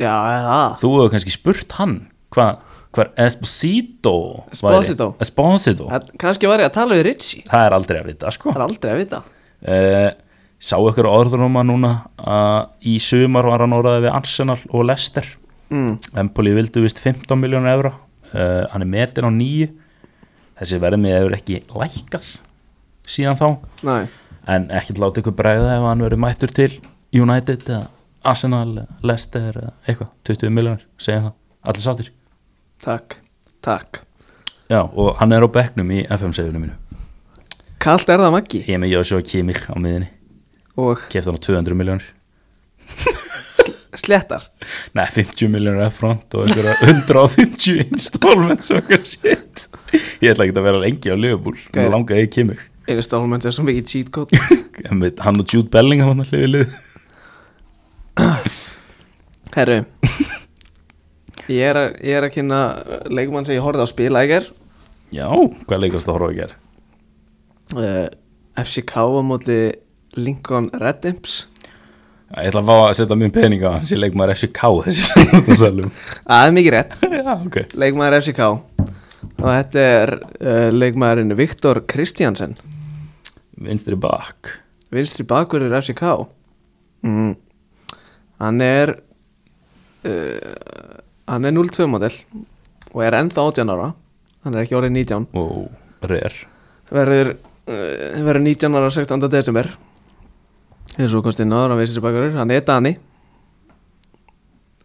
já það þú hefur kannski spurt hann hvað hva Esposito væri- Esposito. Esposito Það- Kannski var ég að tala við Ritchie það er aldrei að vita sko Það er aldrei að vita uh, sá ykkur orðróma núna að í sumar var hann orðaði við Arsenal og Leicester mm. Empoli vildu vist 15 miljónur evra uh, hann er metin á nýju þessi verðmið hefur ekki lækað síðan þá Næ, en ekkert láta ykkur bregða ef hann verður mættur til United eða Arsenal, eða Leicester eða eitthvað 20 miljónur, segja það, allir sáttir takk, takk já og hann er á bekknum í FM-segjunum mínu Kalt er það Maggi ég er með Joshua Kimmich á miðinni Og kefti hann á 200 miljónur slettar Nei, 50 miljónur upfront og einhverja 150 installments og eitthvað shit Ég ætla ekki að vera lengi á Liverpool Mér Gæi. langaði ekki mig Einu stálmenn sem mikið cheat code [LAUGHS] En við, hann og Jude Bellingham hann hliði lið Herru Ég er, að, ég er að kynna leikumann sem ég horfði á spila í gær Já, hvað leikast að horfa að gera? uh, FCK á móti Lincoln Red Imps Ég ætla að fá að setja mjög pening á hans Ég leik maður FCK þessi samstofsalum Það er mikið rétt um. [LAUGHS] Já, ok Leikmaður FCK Og þetta er uh, leikmaðurinn Viktor Kristjansen Vinstri bak Vinstri bakverður FCK mm. Hann er uh, Hann er 0-2 model Og er ennþá 18 ára Hann er ekki orðið 19 og Rare Verður, uh, verður 19 ára 16. desember Þessu svo kostið náður á vinstri bakverður Hann er Dani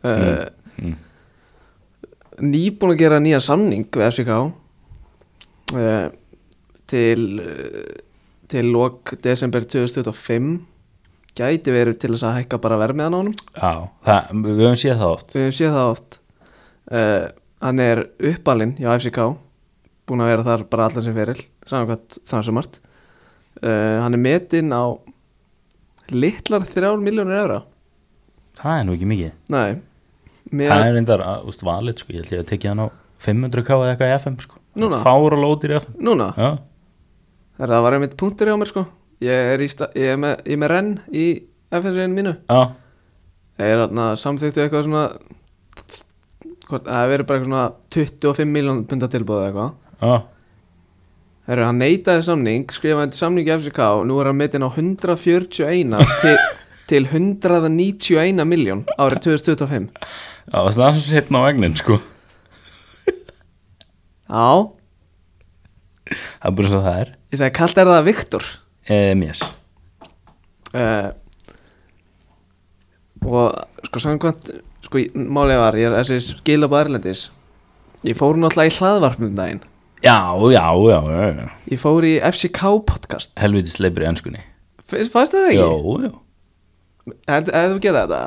uh, mm. nýbúin að gera nýja samning við FCK uh, til eh, til lok desember 2025 gæti verið til þess að hækka bara vermiðan á honum Já, það, við höfum séð það oft við höfum séð það oft uh, hann er uppalinn hjá FCK búin að vera þar bara allan sem feril samkvæmt þannig sem margt uh, hann er metinn á litlar 3 miljónir evra Það er nú ekki mikið nei Það með, er reyndar, að, úst, valið sko Ég ætla ég að tekja hann á 500k eða eitthvað í FM sko Núna? Fára lótir í FM núna Já Það er það var einmitt punktur hjá mér sko Ég er, í sta, ég er, með, ég er með renn í FNC-inu mínu Já, Það er þarna samþyktu eitthvað svona hvort, Það verður bara eitthvað svona 25 miljón punda tilbúð eða eitthvað já, Það eru hann neitaði samning skrifaði undir samning í FCK og nú er hann metin á 141 til, til 191 miljón árið 2025 já það er aðeins hittna á vegnin sko Já, Það er bara svo það er ég segi kallt er það Viktor um, yes. uh, og sko samkvæmt sko í- málið var, ég er þessi skila á Erlendis ég fór náttúrulega í hlaðvarpum daginn Já, já, já, já, já. ég fór í FCK podcast Helviti sleipur í önskunni F- fannst það Jó, ekki? já hefðu hef getað þetta?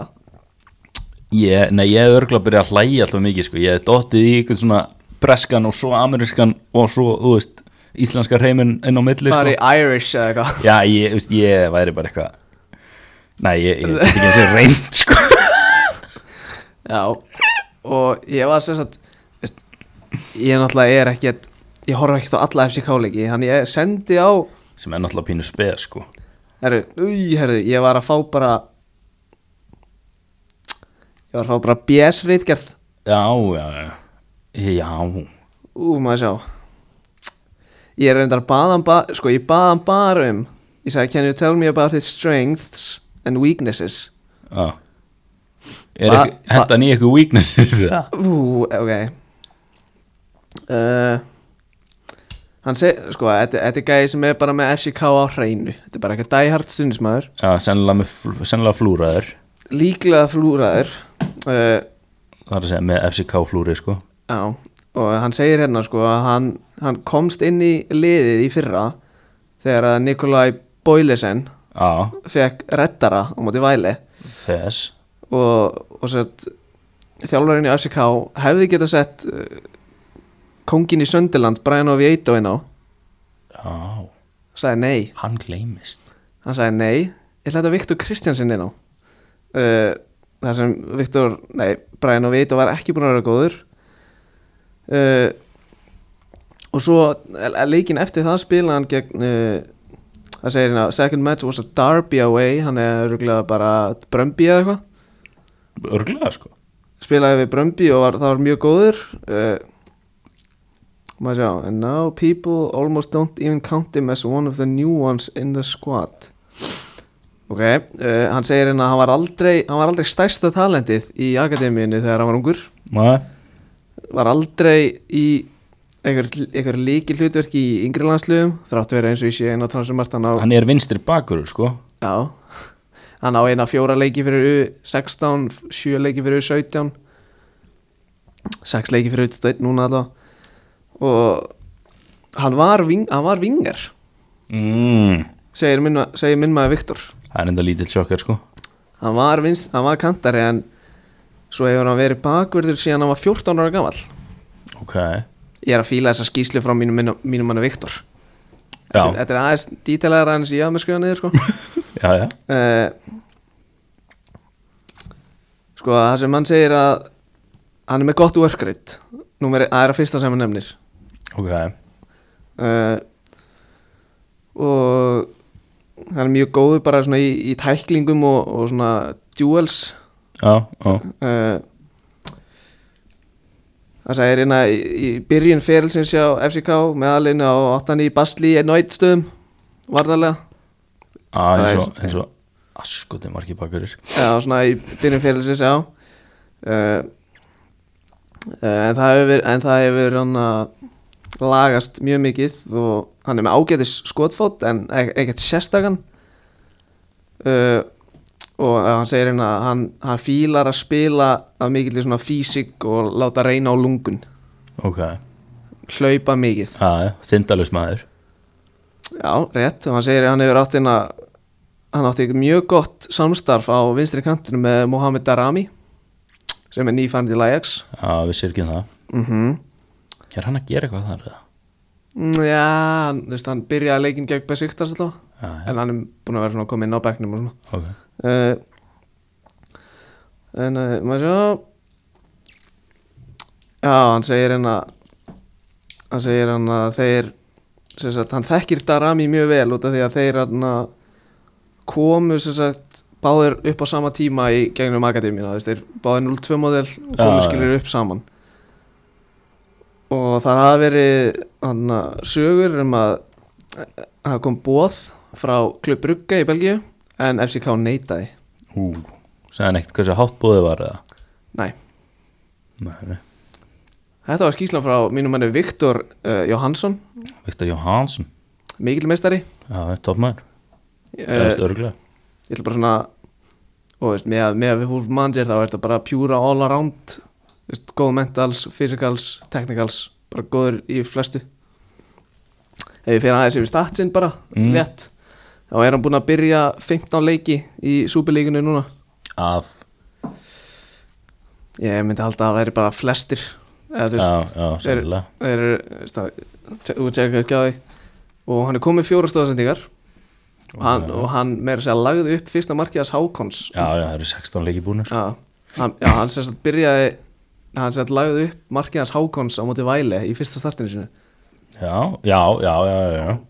ég, Nei, ég hef örgulega byrjað að hlæja alltaf mikið sko Ég hef dottið í einhvern svona breskan og svo amerískan og svo, þú veist, íslenska hreiminn inn á milli fara sko. í Irish eða eitthvað Já, ég, þú veist, ég væri bara eitthvað Nei, ég, ég, ég ekki eins og reynd sko já, og ég var sem sagt veist, ég náttúrulega er ekkert ég horf ekkert á alla FCK leiki þannig ég sendi á Sem er náttúrulega pínu speð sko herru, új, herru, ég var að fá bara ég var að fá bara BS reitgerð Já, já, já Já, Ú, maður sjá Ég er reyndar baðan bara Sko, ég baðan bara um Ég sagði, can you tell me about his strengths and weaknesses já Er Ba- ekki, hendan í eitthvað weaknesses eða? Ú, ok uh, Hann segi, sko, þetta þetta er gæði sem er bara með FCK á hreinu Þetta er bara eitthvað dæhart stundismæður Já, sennilega, með, fl- sennilega flúraður Líklega flúraður uh, Það er að segja með FCK flúri sko Já, og hann segir hérna sko að hann, hann komst inn í liðið í fyrra þegar að Nikolaj Boilesen Já, fekk reddara á móti væli þess og, og sett, þjálfarinn í ACK hefði geta sett uh, kongin í Söndiland Brian Oviedo inn á Já, sagði nei, hann gleymist hann sagði nei ég ætla þetta Viktor Kristjansson inn á uh, það sem Viktor nei, Brian Oviedo var ekki búin að vera góður uh, og svo eh, leikinn eftir það spila hann gegn uh, það segir hérna, second match was a derby away hann er rúglega bara Brömbi eða eitthvað Örglega sko spilaði við Brömbi og var, það var mjög góður uh, maður sjá and now people almost don't even count him as one of the new ones in the squad ok uh, hann segir hérna að hann var aldrei hann var aldrei stærsta talentið í akademíunni þegar hann var ungur Nei, var aldrei í einhver, einhver líki hlutverki í yngri landslugum þráttu verið eins og ég sé einn á transumart hann á hann er vinstri bakurur sko Já Hann á eina fjóra leiki fyrir U16 Sjö leiki fyrir U17 Sex leiki fyrir U21 núna alltaf Og hann var, ving, hann var vingar mm. segir minn, ma- segir minn maður Viktor Það er enda lítill sjokkar sko hann var, vinst, hann var kantari en svo hefur hann verið bakverður síðan hann var 14 ára gamall Ok Ég er að fíla þessa skýslu frá mínum, mínum, mínum manni Viktor Já, Þetta er aðeins dítalega aðeins ég að mér skrifa niður sko já, já Eh, sko það sem hann segir að hann er með gott work rate Númer, það er að fyrsta sem hann nefnir Ok, uh, og hann er mjög góður bara svona í, í tæklingum og, og svona duels já, já uh, það segir hérna í, í byrjun ferilsins hjá FCK meðalinn á 8. í Basli í einu eitt stöðum varðarlega Á, eins og, Það er- eins og Askutin margir bakurur Já, svona í byrjun fyrirlisins, já uh, En það hefur, en það hefur hann að lagast mjög mikið og hann er með ágætis skotfót en e- ekkert sérstakann uh, og hann segir hérna að hann, hann fílar að spila af mikill svona físik og láta reyna á lungun Ok, hlaupa mikið já, já, þindalus maður Já, rétt, og hann segir að hann hefur átt hérna hann átti mjög gott samstarf á vinstri kantinu með Mohamed Darami sem er nýfænd í Ajax Já, vissir ekki um það mm Er hann að gera eitthvað þar eða? Já, hann, þú veist, hann byrjaði leikinn gegn Besiktas alltaf Já, já, en hann er búin að vera svona kominn á bekknum og svona ok uh, En uh, maður sjá Já, hann segir hérna hann segir hann að þeir sem sagt, hann þekkir Darami mjög vel út af því að þeir hann komu sem sagt báðir upp á sama tíma í gegnum akademíuna, þú veist, þeir báðir 0-2 model og komu Já, já. skilur upp saman og það hafa verið hann sögur um að það kom bóð frá Klubb Brugge í Belgíu en FCK neitaði Ú, segðan ekkert hversu hátt búið var eða? Nei, Nei, nei þetta var skýslan frá mínum manni Viktor uh, Jóhansson Viktor Jóhansson mikilmeistari Já, toppmæður, Eh, uh, eðast örglega ég ætla bara svona og veist, með, að- með að við húlf manager þá er þetta bara pjúra all around veist, góð mentals, physicals, technicals bara góður í flestu ef ég fyrir aðeins yfir statsinn bara, Mm. rétt þá er hann búinn að byrja 15 leiki í súpilíkinu núna Af, ég myndi halda að það væri bara flestir eða þú já, veist, já, sérlega það eru veist það, te- þú tjekkar ekki á því og hann er komið fjóra stóðsendingar og hann, og hann meira að segja lagði upp fyrsta markiðas Hákons Já, já, það eru 16 leiki búinir Já, hann, já, hann sem sagt byrjaði hann sem sagt lagði upp markiðans Hákons á móti Væle í fyrsta startinu sinu Já, já, já, já, já, já. Eh,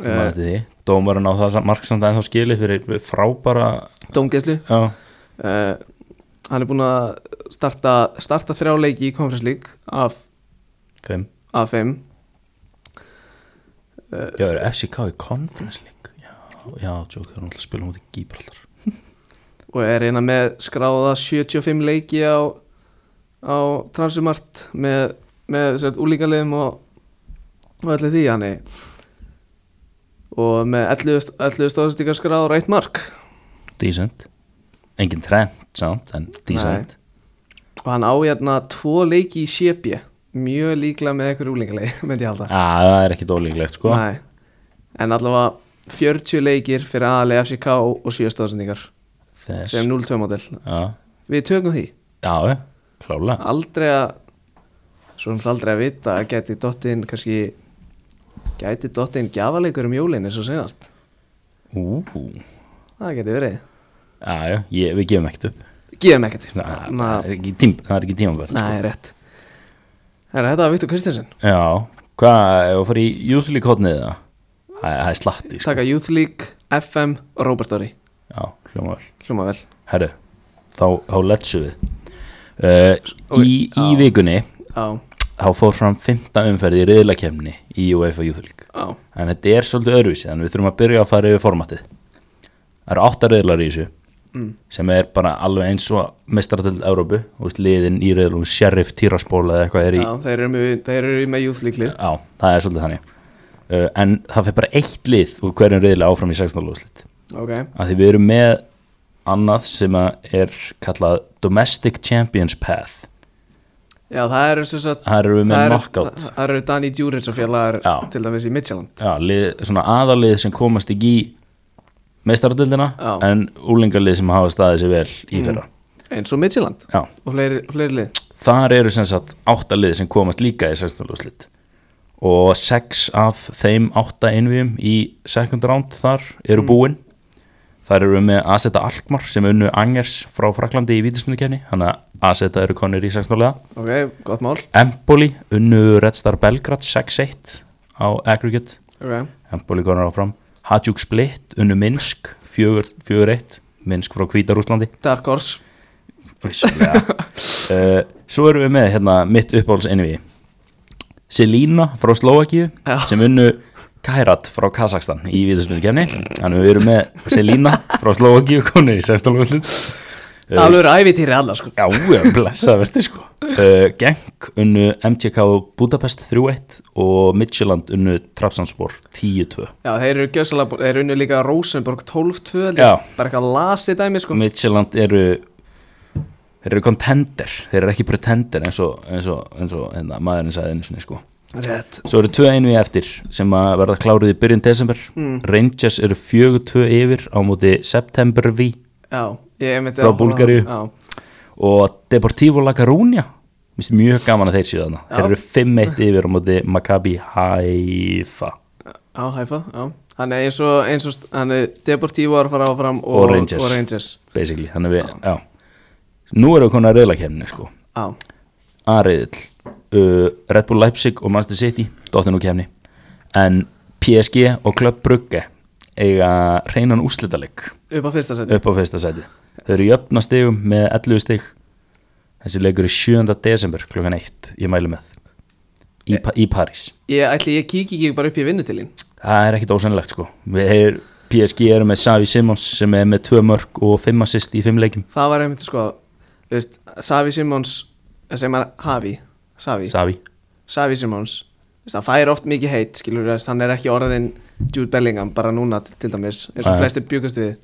Uh, því. Dómarinn á það marksamt ennþá skilið fyrir frábara Dómgeðslu Já, uh, hann er búinn að starta, starta þrjá leiki í Conference League af, fimm af fimm Já, eru FCK í Conference League Já, já, tjók, það er náttúrulega að spila mútið Gíbraldar og er eina með skráða 75 leiki á, á transumart með, með sett, úlíkaliðum og, og allir því hann og með 11, 11 stóðstíkar skráð og reitt mark Decent Engin trend, samt, en decent og hann á hérna tvo leiki í sépje mjög líklega með einhver úlíkalið [LAUGHS] myndi ég halda Já, það er ekkit ólíklegt, sko Nei. E, en allavega 40 leikir fyrir aðalega FCK og 7 stóðsendingar Þess. sem 0-2 model Já, Við tökum því já, klálega Aldrei að Svo erum það aldrei að vita að gæti dottinn kannski Gæti dottinn gjafaleikur um jólin eins og senast Ú, Það gæti verið já, já, ég, við gefum ekkert upp Gíðum ekkert upp Næ, Na- það er ekki tím- það er ekki tímanverð sko. Nei, rétt Herra, Þetta var Viktor Kristinsson Já, hvað, ef við fyrir í júðlíkotnið það? Það það er slatti sko. Taka Youth League, FM og Robert Dory Já, hljóma vel Hljóma vel Herru, þá, þá letsu við uh, Í, í vikunni Á, þá fór fram 15 umferði í riðlakefni í UEFA Júðlík á, En þetta er svolítið öðruvísi, þannig við þurfum að byrja að fara yfir formatið Það eru átta riðlar í þessu sem er bara alveg eins og mestaratöld Európu og liðin í riðlum Sheriff, Tiraspol eða eitthvað er í á Þeir eru með, þeir eru með Youth League lið Já, það er svolítið þannig uh, En það fyrir bara eitt lið úr hverjum reyðilega áfram í 16. lóðslit Ok, Af því við erum með annað sem að er kallað Domestic Champions Path já það eru sem sagt Það eru við með það eru- knockout Það eru Dani Djuric og félagar Já. til dæmis í Midtjaland Já, lið, svona aðalið sem komast ekki í meistaradöldina Já. en úlingarlið sem hafa staðið sér vel í fyrra eins og Midtjaland Já, og fleiri, fleiri lið þar eru sem sagt átta lið sem komast líka í 16. lóðslit og sex af þeim átta einvíum í second round þar eru búin þar eru við með Aseta Alkmar sem unnu Angers frá Fraklandi í vítismundukenni þannig að Aseta eru konir í 16. liða ok, gott mál Empoli unnu Red Star Belgrad 6-1 á aggregate ok, Empoli konar áfram Hajduk Split unnu Minsk 4-1 Minsk frá Hvítarúslandi Dark Horse [LAUGHS] Vissulega uh, Svo erum við með hérna mitt uppáhalds envi Selina frá Slovakíu Já. sem unnu Kærat frá Kazakstan í viðsmyndukefni Þannig við erum með Selina frá Slovakíu konu í 16. úrslit það alveg eru ævitýri alla sko Já, ég blessa verði sko uh, Genk unnu MTK Budapest 3-1 og Midtjylland unnu Trapsanspor 10-2 já, þeir eru gjössalega, þeir eru unni líka Rosenborg 12-2 held ég. Já. Mm. bara eitthvað lasi dæmi sko Midtjylland eru þeir eru contender, þeir eru ekki pretender eins og, eins og, eins og hérna, maðurinn sagði einu sinni sko rétt, Svo eru tvö einvið eftir sem að verða klárið í byrjun desember Mm. Rangers eru fjögur tvö yfir á móti Septembervi já, ég er myndi Frá Búlgaríu. já, og Deportivo La Coruña Mér finnst mjög gaman að þeir séu þarna Þeir eru 5-1 yfir á móti Maccabi Haifa á hæfa, já hann er eins og, eins og, st- hann er Deportivo að fara áfram og, Og Rangers. og Rangers. basically, þannig við, já, Nú erum við konar að reyðlakefni sko já, Ariðil, uh, Red Bull Leipzig og Manchester City, dottinu kefni en PSG og Club Brugge eiga reynan úslitaleg upp á fyrsta seti upp á fyrsta sæti þau eru í öfna stigum með 11 stig þessi leikur er 7. desember klukkan 1 ég mælu með í, pa í París ég ætli, ég kíki ekki bara upp í vinnutilin það er ekkit ósennilegt sko við er, PSG eru með Savi Simons sem er með 2 mörg og 5 assist í 5 leikum það var einmitt sko, þú veist Savi Simons, sem er Havi Savi, Savi Savi Simons Veist, hann fær oft mikið heit skilur við hann er ekki orðin Jude Bellingham bara núna til dæmis eins og Nei. flestir bjúkast við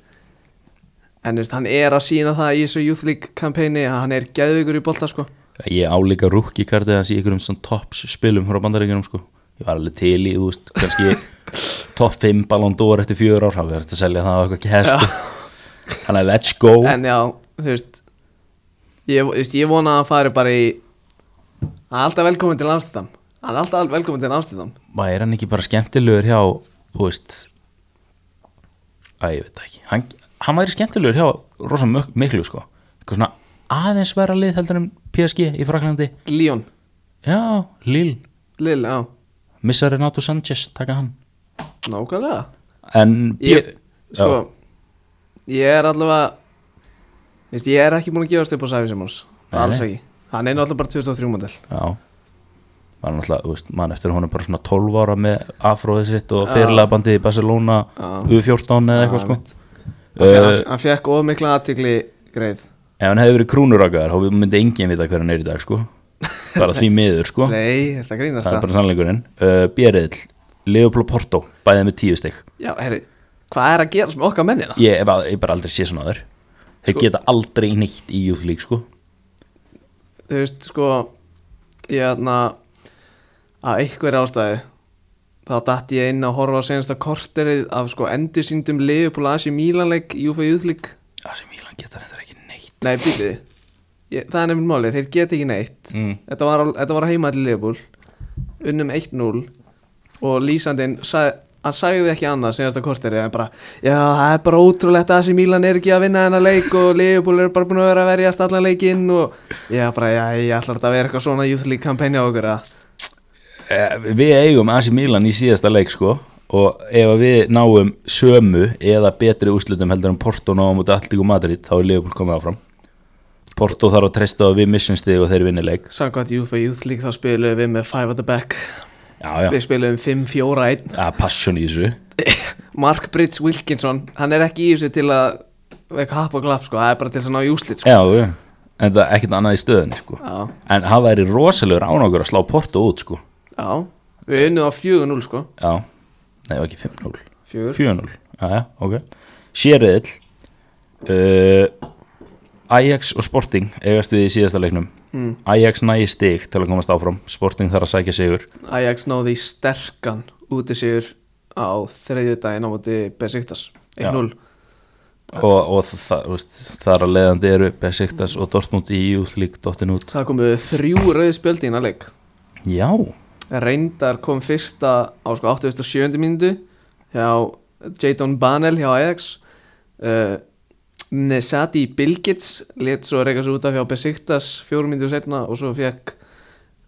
en veist, hann er að sína það í þessu Youth League kampæni hann er geðvigur í bolta sko ég álíka rúk í kardið hans í einhverjum svona tops spilum frá bandaríkjunum sko ég var alveg til í, þú veist, kannski [LAUGHS] top 5 Ballon d'Or eftir 4 ár þá verður þetta að selja það á eitthvað kæð sko þannig að let's go en já, þú veist ég, þú veist, ég vona að hann fari bara í hann er alltaf velkominn til Amsterdam hann er alltaf velkominn til Amsterdam væri hann ekki bara skemmtilegur hjá þú veist að ég veit það ekki hann, hann væri skemmtilegur hjá rosa mök- miklu sko eitthvað svona aðeins vera lið heldur en PSG í Fraklandi Leon, já, Lille, Lille, já, missa Renato Sanchez taka hann nákvæmlega en ég, Já. sko ég er allavega þú veist, ég er ekki búin að gefast upp á Savi Simons Nei, alls nei. ekki, hann er náttúrulega bara 2003 model já var náttúrulega, þú veist, mann eftir hún er bara svona 12 ára með afróðið sitt og fyrirlega bandið í Barcelona U14 eða eitthvað sko hann, uh, hann, hann fekk of mikla aðtikli greið ef hann hefði verið krúnurakaðar þá myndi enginn vita hver hann er í dag sko bara því miður sko [LAUGHS] nei, þetta grínast það er það bara sannleikurinn uh, Bjeriðl, Leopold Porto bæðið með tíu stygg já, herri, hvað er að gera með okkar mennina? ég hef bara- ég hef bara aldrei sé svona þar þeir geta aldrei nýtt í Youth League sko þú veist, sko ég aðna að einhver ástæðu þá datt ég inn að horfa á senasta korterið af sko endursýndum Liverpool AC Milan leik í UFA Youth League AC Milan geta reyndar ekki neitt Nei, býtið Ég- Það er nefnir málið, þeir geta ekki neitt Mm. þetta, var, á- þetta var á heima til Leopold Unnum 1-0 Og lýsandinn sag, Hann sagði ekki annað senast að korteri En bara, já það er bara ótrúlegt að þessi Mílan er ekki að vinna hennar leik Og Leopold er bara búin að vera að verjast allan leikinn Og já bara, já ég ætlar þetta að vera eitthvað svona Youth League kampanja á okkur að Eh, Við eigum AC Milan í síðasta leik sko og ef að við náum sömu eða betri úrslutum heldur en Porto náum út Alltíku Madrid þá er Leopold komið áfram Porto þarf að treysta á að við missum stig og þeir vinni leik Samkvæmt UEFA Youth League þá spilum við með 5 at the back Já, já, Við spilum 5-4-1 það er passion í þessu Mark Brits Wilkinson, hann er ekki í þessu til að Eitthvað happ og glapp sko, það er bara til þess að ná í úslit sko Já, já, en það er ekkert annað í stöðinni sko Já, En það væri rosalegur án okkur að slá Porto út sko já Við unnum á 4-0 sko Já, nei, það var ekki 5-0 4 4-0, aðja, ok Sérriðil uh, Ajax og Sporting eigast við í síðasta leiknum mm. Ajax nægi stig til að komast áfram Sporting þarf að sækja sigur Ajax náði í sterkan úti sigur á þriðju daginn á móti Besiktas 1-0 og, og það, þú veist, þar að leiðandi eru Besiktas og Dortmund í Júþlík dottin út Það komu þrjú rauði spjöldi í náleik Já, Reyndar kom fyrsta á sko 87. mínútu hjá Jadon Banel hjá Ajax uh, Nesati Bilgits let svo reyka svo út af hjá Besiktas fjórum mínútu setna og svo fekk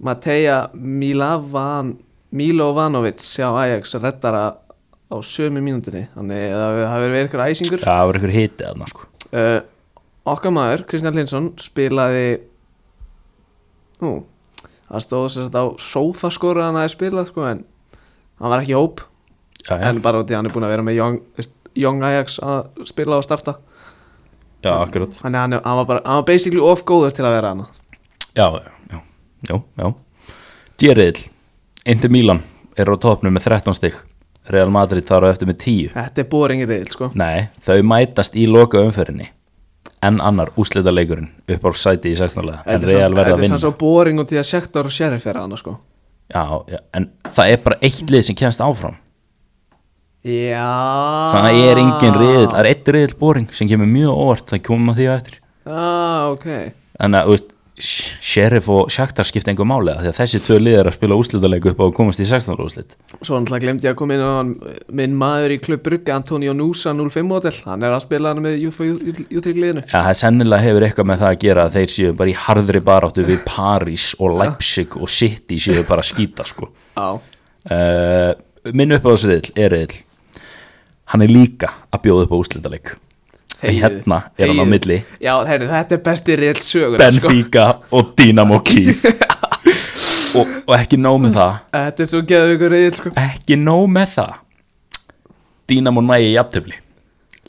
Mateja Milavan, Milovanovic hjá Ajax reddara á sömu mínútinni þannig að það hafi verið eitthvað æsingur það var ykkur hitið þarna sko uh, okkar maður, Kristján Lindsson spilaði nú það stóð sér þetta á sófaskora hann að spila sko en hann var ekki í hóp Já, já, en bara út í að hann er búin að vera með Young, veist, young Ajax að spila og starta já, akkurat hann, hann, er- hann var bara, hann var basically of góður til að vera hann Já, já, já, já Djeriðil, Inter Milan er á topnum með 13 stig Real Madrid þar á eftir með 10 þetta er boringið reyðil sko Nei, þau mætast í loka umferðinni En annar úslitaleikurinn upp á sæti í 16. lega En Þetta er Real samt- verða þetta að er vinna sann svo boring út í að sektor og sheriff er hann sko já, já, en það er bara eitt lið sem kemst áfram já Það er engin riðil, það er eitt riðil boring sem kemur mjög óvart, það kemur maður því á eftir ah, ok Þannig að, þú veist, Sh- Sheriff og Shakhtar skipta einhver máli af Því að þessi tvö lið er að spila úslitaleik upp á að komast í 16. úslit Svo náttúrulega glemdi ég að koma inn á hann minn maður í klubbrugga Antonio Núsa 05 model, hann er að spila hann með júþrygliðinu Já, það sennilega hefur eitthvað með það að gera að þeir séu bara í harðri baráttu við París og Leipzig og City séu bara að skýta sko. Já, Uh, minn upp á þessu riðil er riðil. Hann er líka að bjóða upp á úslitaleik. En hérna er hann á Þegiðu. milli. Já, herri, þetta er besti sko. rétt sögur Benfica og Dynamo Kiev. og, og ekki nóg með það. Þetta er svo geðu ykkur rétt sko Ekki nóg með það. Dynamo nægi jafntöfli.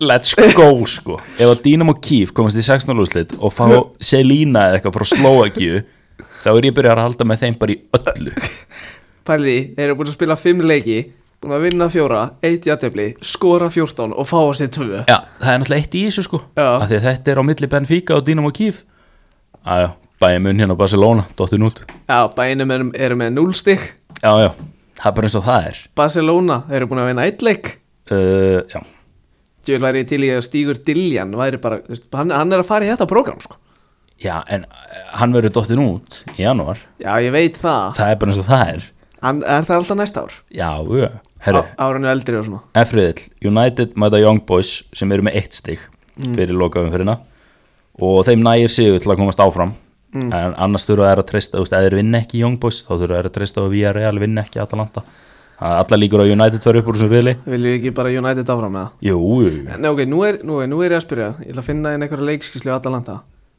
Let's go sko. Ef að Dynamo Kiev komast í 16 úrslit og fá Selina eða eitthvað frá Slovakíu þá er ég byrjar að halda með þeim bara í öllu. Pæli, því, þeir eru búin að spila 5 leiki Búin að vinna 4, 1 jættefli Skora 14 og fá að sér 2 Já, það er náttúrulega eitt í þessu sko. Já. Af því að þetta er á milli Benfica og Dynamo Kiev. Aðja, bæja mun hérna á Barcelona, dottin út. Já, bænum eru er með 0 stig Já, já, það er bara eins og það er. Barcelona, þeir eru búin að vinna 1 leik Uh, já, Ég væri til í að stígur Diljan væri bara, þú veist, hann, hann er að fara í þetta program sko já, en eh, hann verður dottin út í janúar. Já, ég veit það Það er bara eins og það er. Hann er það alltaf næsta ár Já, já, herru. Á- Árinu eldri og svona Efriðil, United mæta Young Boys sem eru með eitt stig fyrir lokaumfyrirna og þeim nægir sigur til að komast áfram en annars þurfa þær að treysta, þú veist, ef þeir vinna ekki Young Boys þá þurfa þær að treysta og VRL vinna ekki Atalanta Það er allar líkur á United verið upp úr þessum viðli Viljum við ekki bara United áfram með það? Jú, Nei ok, nú er, nú, er, nú er ég að spyrja Ég ætla að finna inn einhverja leikskíslu í Atalanta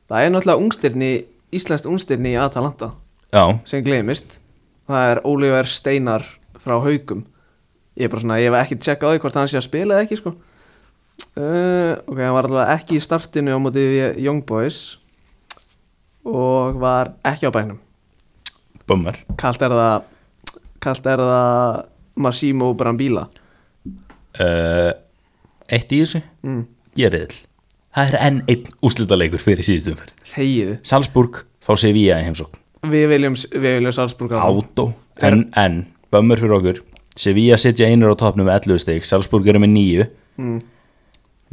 Það er náttúrulega ungstirni, íslenskt ungstirni í Atalanta já, sem gleymist Það er Oliver Steinar frá Haugum Ég er bara svona, ég hef ekki tjekkað á því hvort hann sé að spila eða ekki sko uh, Ok, hann var allavega ekki í startinu á móti við Young Boys og var ekki á bænum bömmar Kalt er það Kalt er það Massimo Brambila uh, Eitt í þessu, mm. Geriðil Það er enn einn úslitaleikur fyrir síðustu umferð Þegiðu Salzburg fá Sevilla í heimsókn Við viljum, við viljum Salzburg áfram Átó, en, en Bömmur fyrir okkur Sevilla sitja einur á topnum með 11 stig Salzburg eru með 9 mm.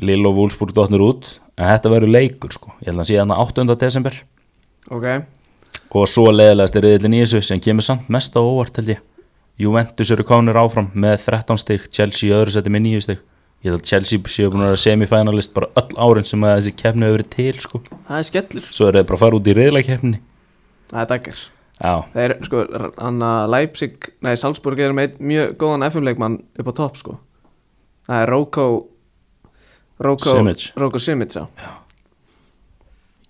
Lille og Wolfsburg dotnur út en þetta verður leikur sko ég held að hann sé hérna 8. desember Ok, og svo leiðilegast er reyðlinn í þessu sem kemur samt mest á óvart held ég Juventus eru kánir áfram með 13 stig Chelsea í öðru seti með 9 stig ég held að Chelsea séu búin að vera semifinalist bara öll árin sem að þessi keppni hefur verið til sko. það er skellur svo eru þeir bara að fara út í reyðlakeppni Það er daggar já, Það er, sko, hann að Leipzig Nei, Salzburg er með einn mjög góðan FM-leikmann upp á topp, sko Það er Roko Roko Simic. Roko Simic, já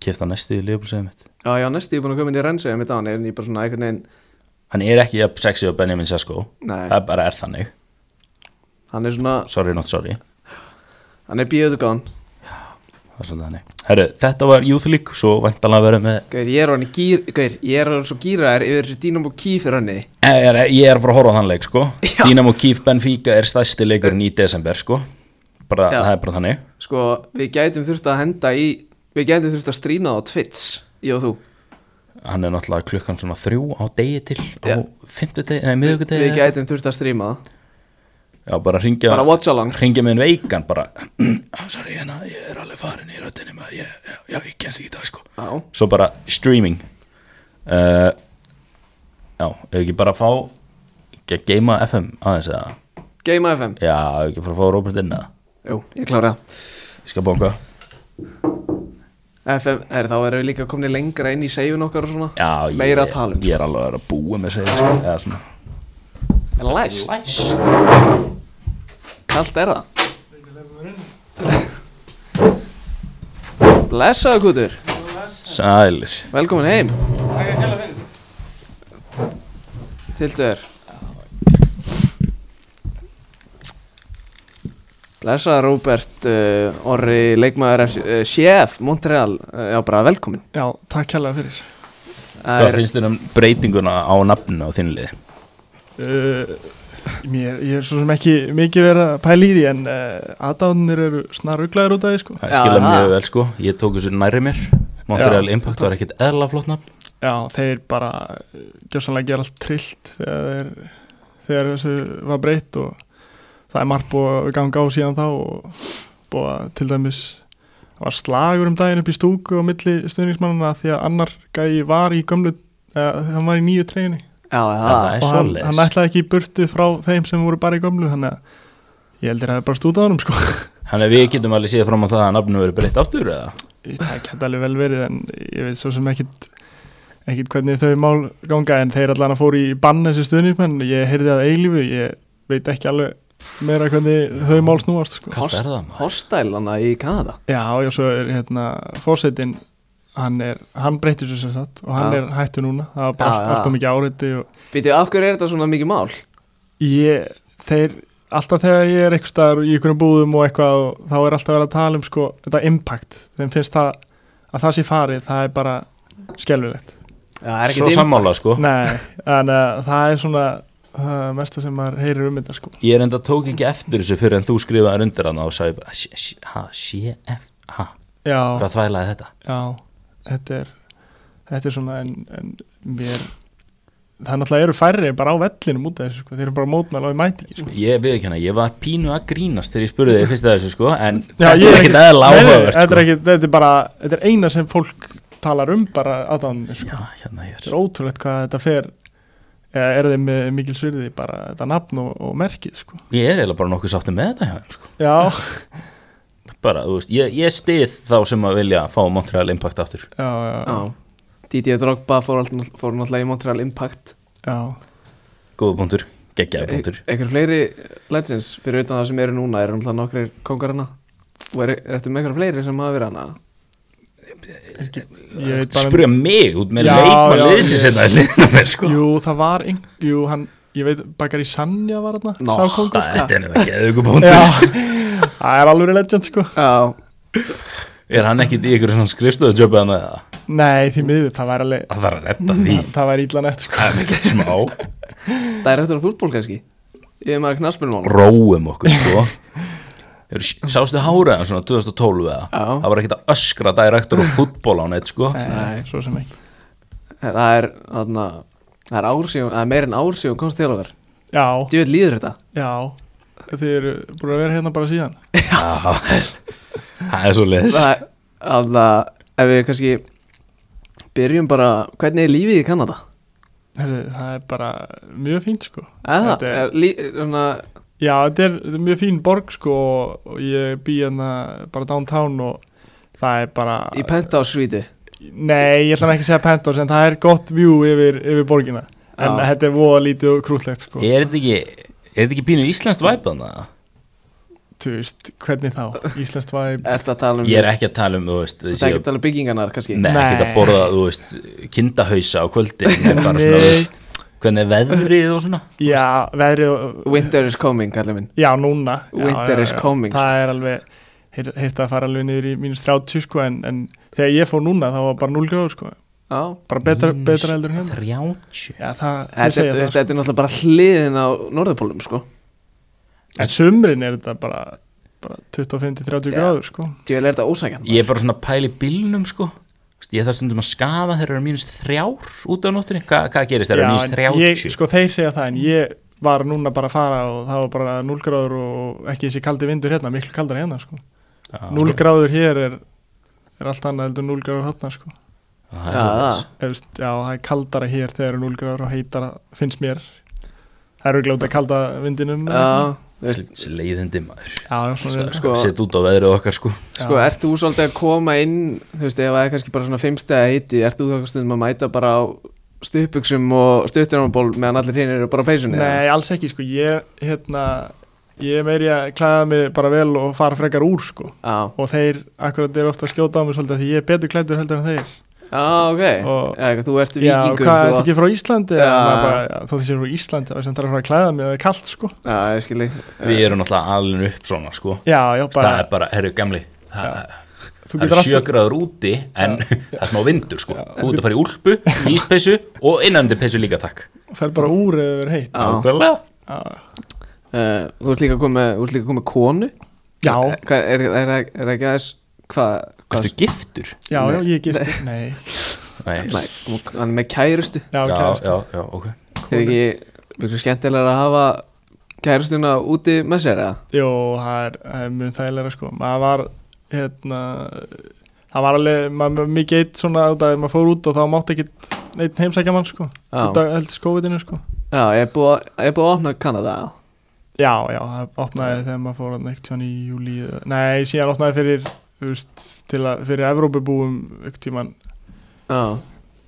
kefta næstu í Leopold mitt Já, já, næstu ég er búin að koma inn í reynsegja mitt á hann En ég bara svona einhvern veginn hann er ekki jafn sexy og Benjamin Sesko Nei. það bara er þannig, Hann er svona, sorry not sorry hann er bíöðugán það er svolítið þannig Herru, þetta var Youth League, svo væntalega verið með Gauir, ég er hann í gýr Gauir, ég er hann svo gýraðar yfir þessu Dínamo Kífir hann Eh, Ég er, ég er að fara að horfa á þann leik sko Já. Dynamo Kiev Benfica er stærsti leikurinn í desember sko bara, Já. Það er bara þannig Sko, við gætum þurft að henda í Við gætum þurft að strína á Twitch Ég og þú Hann er náttúrulega klukkan svona þrjú á degi til Já. á fimmtudegi, nei miðugudegi Við gætum þurft að stríma það Já, bara ringja Bara watch along. Ringja með einn veikan bara [CLEARS THROAT] ah, Sorry, hérna, ég er alveg farin í röddinni maður ég, já, já, ég kennst ekki í dag sko Já, Svo bara streaming uh, Já, ef ekki bara að fá ekki að geima FM aðeins eða Game FM Já, ef ekki að fara að fá Robert inn eða Jú, ég klára það Ég skal bóka FM, er, þá erum við líka komin lengra inn í seifin okkar og svona Já, ég, Meira að tala um ég er alveg að vera að búa með segja sko, eða svona sko. Læst, kallt er það Blessaðu kútur, Sælir velkomin heim Tildur Blessaðu Róbert uh, Orri, leikmaður FC- uh, Chef, Montreal, uh, já bara velkomin Já, takk hérlega fyrir Það Hvað er- finnst þér um breytinguna á nafninu á þínu liði? uh, mér, Ég er svo sem ekki mikið verið að pæla í því En uh, aðdánir eru snaruglaður út af því sko Það Já, skilja það. mjög vel sko, ég tók þessu nærri mér Montreal Impact var ekkert eðla flott nafn Já, þeir bara uh, gjörsanlega gera allt trillt Þegar, þeir, þegar þessu var breytt Og það er margt búið að ganga á síðan þá Og búið að til dæmis Það var slagur um daginn upp í stúku á milli stuðningsmannana því að annar gæi var í gömlu, eða hann var í nýju treyni Já, það Það er og hann, hann svoleiðis ætlaði ekki í burtu frá þeim sem voru bara í gömlu þannig að ég heldur að það er bara stútað honum sko. Þannig að við getum alveg séð fram á það að nafninu verið breytt aftur eða? [LAUGHS] það geta alveg vel verið en ég veit svo sem ekkit ekkit hvernig þau mál ganga en þeir allan að fóru í bann þessi stuðnismenn ég heyrði að eilífu, ég veit ekki alveg meira hvernig þau mál snúast sko. Hvað er það maður? Hostælana í Kanada já og svo er hérna fórsetin hann, er, hann breytir sér sem sagt og hann Já. er hættu núna, það var bara Já, allt, já. allt og mikið áreiti og Býtu, af hverju er þetta svona mikið mál? Ég, þeir, alltaf þegar ég er eitthvað staðar í einhvern búðum og eitthvað og þá er alltaf verið að tala um sko, þetta impact þeim finnst það, að það sé farið það er bara skelvilegt Já, það er Svo sammála sko Nei, en uh, það er svona það uh, mesta sem maður heyrir um þetta sko Ég er enda tók ekki eftir þessu fyrir en þú skrifaði undir hann og sagði bara "Sé- sé- Ha, sé, ef, ha, Já, hvað þvælaði þetta? já, þetta er þetta er svona en, en mér það er náttúrulega eru færri bara á vellinum út af þessu sko, þeir eru bara að mótmæla og ég mæti ekki sko Ég veit ekki hana, ég var pínu að grínast þegar ég spurði þig fyrst að þessu sko en Já, þetta ég er ekkert eðla Nei, nei, áhugavert þetta, sko. er ekki, þetta er bara, þetta er eina sem fólk talar um bara aðdánir sko. Já, hérna hér Þetta er ótrúlegt hvað þetta fer eða er þeim með mikil svirði bara þetta nafn og, og merkið sko. Ég er eiginlega bara nokkuð sáttum með þetta hjá þeim sko. Já, Bara, þú veist, ég, ég stið þá sem að vilja fá Montreal Impact aftur já, já, já. Já Didi og Drogba fór, alltaf, fór náttúrulega í Montreal Impact já. Góða punktur, geggjaði e punktur Ekkur fleiri legends fyrir utan það sem eru núna eru náttúrulega nokkrir kongar hana og er, er eftir með eitthvað fleiri sem hafa verið hana Ég veit bara um- Spurja mig út með Já, leikmann já, liðsins ég- hérna í [LAUGHS] liðinu mér sko Jú, það var ein, jú, hann, ég veit, Bakari Sanja var þarna Nó, sá kóngur. Það þetta er nefnilega geðugu punktur Já, það er alveg legend sko Já, Er hann ekkit í ykkur svona skrifstöðu jobbi hann að Nei, því miður, það var alveg það þarf að redda því það, það var ítla nett sko Það er ekkert smá það er eftir að fútból kannski Ég er maður knaspunmál Róum okkur sko Eru- Sástu háraðan svona 2012 eða Já. Það var ekkert að öskra direktor og fútból á neitt sko Nei, svo sem ekki Það er, þarna, það er ár síðan, það er meir en ár síðan komst til okkar Já, Djöð líður [LAUGHS] þetta já, þið eru búin að vera hérna bara síðan Já, það er svo leis Það að ef við kannski byrjum bara, hvernig er lífið í Kanada? Heru, það er bara mjög fínt sko Eða, Þetta er- er, lí, svona, Já, þetta er, þetta er mjög fín borg sko og- og ég bý hérna bara downtown og það er bara í pentásvítu Nei, ég ætla nú ekki að segja penthouse en það er gott view yfir, yfir borgina en Já. þetta er voða lítið og krúllegt sko Er þetta ekki Er þetta ekki pínu íslenskt væp þannig að Þú veist, hvernig [LAUGHS] þá? Íslenskt væp Ertu að tala um Ég er ekki að tala um, þú veist Það þessi- ekki að tala um byggingarnar kannski Nei, ekki að Nei. borða, þú veist, kindahausa á kvöldi bara svona, þú Nei. veist, Hvernig er veðrið og svona Já, veðri og Winter is coming, kallar minn Já, núna já, Winter já, is já. coming, sko. Það er alveg Hitt að fara alveg niður í mínus 30 sko en, en þegar ég fór núna þá var bara 0 gráður sko Já, Bara betra, Mínus betra heldur en hérna 30 Já, það, þið þetta, segja þú það veist, þetta er náttúrulega bara hliðin á norðupólum sko sko En sumrin er þetta bara, bara 25-30 Já. gráður sko Ég vil er þetta ósækjan Ég er bara svona að pæla í bílnum, sko Þú veist, Ég þarf stundum að skafa þegar eru mínus þrjár út á nóttunni Hva, Hvað gerist þegar eru Já, mínus en ég, 30? sko þeir segja það en ég var núna bara að fara og það var bara 0 gráður og ekki þessi kaldi vindur hérna, miklu kaldar hérna sko Já, 0 gráður hér er, er allt annað heldur en 0 gráður hérna sko það er Já, svoleiðis. það Ef, veist, já, það er kaldara hér þegar er 0 gráður og heitara, finnst mér Það eru glóta kalda vindinum Já, þú veist, Þessi leiðindi maður já, já, svona er- Sko- Sett út á veðrið okkar sko Sko, Já. ert þú svolítið að koma inn þú veist, ef það er kannski bara svona fimmstega heiti ert þú þá stundum að mæta bara á stuðbuxum og stuðtjarnaból meðan allir hinn eru bara á peysunni eða? Nei, alls ekki, sko Ég, hérna, ég er meiri að klæða mig bara vel og fara frekar úr, sko Já, Og þeir, akkurat eru ofta að skjóta á mig svolítið Því ég er betur klæddur heldur en þeir já, ok Og- Já, eitthvað, Þú ert Já, og vikingur hvað, ertu Eh, þú átt- ekki frá Íslandi? Já. Já. Bara, já, þó þessi frá Íslandi, þá er sem það er að fara að klæða mig, það er kalt, sko Já, ég skilji Við erum náttúrulega alveg upp svona sko Já, já, bara, Það er bara, herru gamli Það, það þú getur er alltaf sjögraður úti en [LAUGHS] það er smá vindur sko Þú ert að fara í úlpu, íspeysu og innandi peysu líka takk Fer bara úr eða verið heitt Já. Nákvæmlega Já, Uh, þú ert líka að koma, þú ert líka að koma með konu Eh, já, Hvað, er, er, er, er ekki aðeins Hvað, hvað Ertu giftur? já, já, ég er giftur Nei, Nei, Nei, hann er með kærustu já, já, kærasta. já, já, ok Er ekki, ekki skemmtilega að hafa kærustuna úti með sér eða? Jó, það er, það er mjög þægilega sko maður var hérna það var alveg, maður var mikið eitt svona út af því að maður fór út og þá mátti ekkit neitt heimsækja mann sko, Já. út af heldur skófiðinu sko Já, ég er búið að- ég er búið að opna Kanada já. Já, já, það opnaði þegar maður fór hann ekkert í júli, nei, síðan opnaði fyrir þú veist, til að, fyrir Evrópubúum ekkert tíman já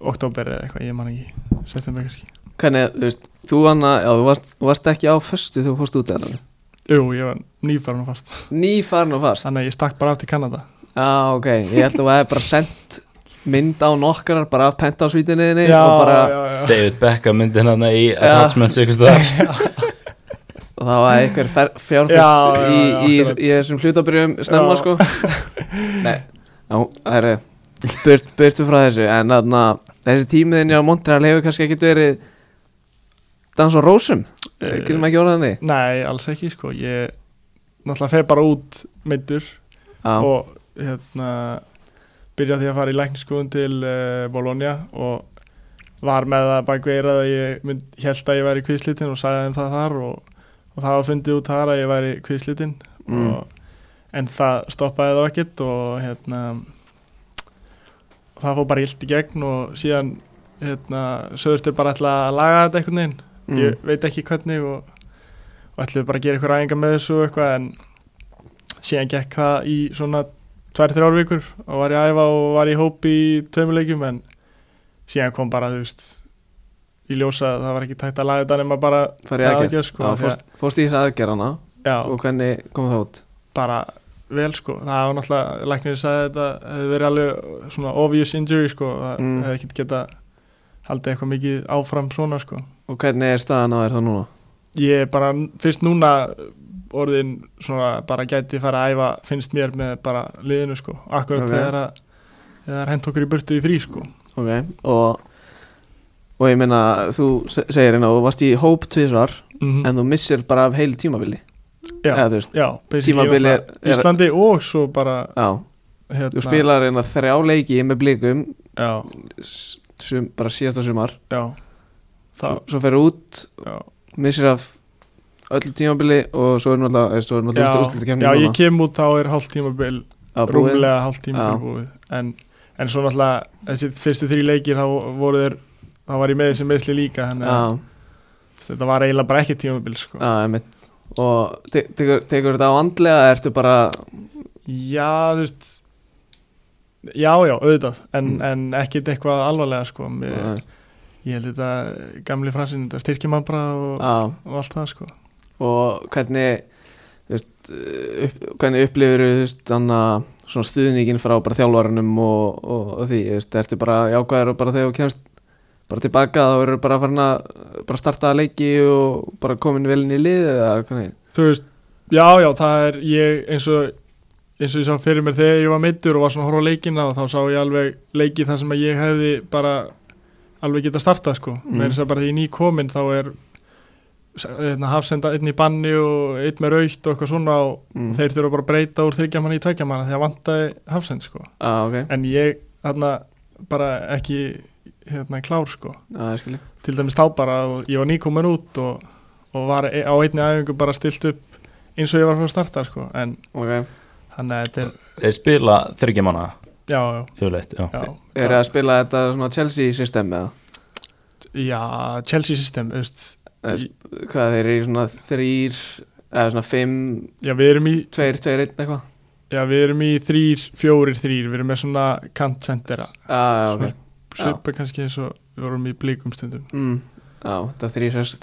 oktober eða eitthvað, ég man ekki september kannski, Hvernig, þú veist, þú hana, já, þú varst, þú varst ekki á föstu þegar þú fórst út af hennar jú, ég var nýfarn og fast, Ný farin og fast þannig að ég stakk bara af til Kanada Já, ok, ég held að þú hefði bara sendt mynd á nokkrar bara af pentásvítinni þinni Já, og bara, já, já David Beckham myndi hérna í Attachments ykkur staðar og það var einhver fer- Já, fjárfest já, í, já, í, akkurat. í þessum hlutabrjöfum snemma Já. sko [LAUGHS] Nei, já, það eru burt, burtu frá þessu en þarna, þessi tímiðinni á Montreal hefur kannski ekkit verið dans á rósum Eh, getum ekki orðað þannig Nei, alls ekki sko Ég náttúrulega fer bara út meittur Já, og hérna byrja því að fara í lækniskoðun til uh, Bologna og var með það bæku eirað að ég mynd, held að ég væri kvíslitin og sagði þeim það þar og, og það var fundið út þar að ég væri kvíslitin Mm. og, en það stoppaði þá ekkert og hérna og það fór bara illt í gegn og síðan hérna, söðustur bara ætla að laga þetta einhvern veginn mm, ég veit ekki hvernig og, og ætluðu bara að gera eitthvað ræðinga með þessu og eitthvað en síðan gekk það í svona tvær, þrjár vikur og var ég að æfa og var ég hóp í tveimur leikjum en síðan kom bara, þú veist í ljósa að það var ekki tækt að laga þetta nema bara, farið Já, aðgerð aðgerð, sko, Já, því að- fórst, fórst í þess aðgerðana já, og hvernig kom það út bara vel sko, það var náttúrulega, læknir sagði þetta hefði verið alveg svona obvious injury sko, það Mm. hefði ekki geta haldið eitthvað mikið áfram svona sko og hvernig er staðan á þér þá núna ég er bara fyrst núna orðin svona bara gæti fara að æfa finnst mér með bara liðinu sko akkurat Ok. þegar að þegar hent okkur í burtu í frí sko Ok, og og ég meina, þú se- segir hérna og þú varst í hóp tvisvar en þú missir bara af heilu tímabili Mhm. Já. eða þú veist, já, basically tímabilið ég var það er- Íslandi og svo bara já hérna, Þú spilar hérna þrjá leiki með blikum já, s- sum, bara síðasta sumar já, það, svo ferur út, já, missir af öllu tímabili og svo er náttúrulega, eh, svo er náttúrulega já, úrslit, úrslit já ég kem út þá er hálft tímabil að búið. rúmlega hálft tíma Já. fyrir búið en, en svo náttúrulega þessi fyrstu þrjú leikir þá voru þeir þá var ég með þessi meðsli líka þannig að Já, þetta var eiginlega bara ekki tímabil sko. já, einmitt Og te- tekur, tekur þetta á andlega eða Ertu bara, já, þú veist já, já, auðvitað en, Mm. en ekkit eitthvað alvarlega sko. já, ég, ég held þetta gamli frasin, þetta styrkir mann bara og, já og allt það sko. og hvernig þú veist, upp, hvernig upplifir veist, anna, svona stuðningin frá bara þjálfaranum og, og, og því þú veist, ertu bara jákvæður og bara þegar þú kemst bara tilbaka þá verður bara farin að bara starta að leiki og bara komin vel inn í lið eða hvernig þú veist, já, já, það er ég eins og eins og ég sá fyrir mér þegar ég var meittur og var svona að horfa á leikina og þá sá ég alveg leiki þar sem að ég hefði bara alveg geta startað sko, Mm. með þess að bara því ný komin þá er hérna, hafsenda einn í banni og einn með raukt og eitthvað svona og mm. þeir þurfa bara að breyta úr þryggjamann í tveggjamann því að vantaði hafsend sko ah, ok, en ég hérna bara ekki hérna klár sko ah, ég skilji til dæmis þá bara og ég var nýkomin út og, og var e- á einni æfingu bara stilt upp eins og ég var fyrir að starta sko. en okay. þannig að þetta er Þeir spila þryggja manna já, já, Hjöfleitt, já. já, er það að spila þetta svona Chelsea system eða já Chelsea system veist, Eða sp- hvað þeir eru í svona þrýr eða svona fimm, já, við erum í tveir, tveir, einn eitthvað já, við erum í þrýr, fjórir, þrýr við erum með svona kantsendera ah, já, ok svipa kannski eins og við vorum í blíkum stundum mm. Já, þetta er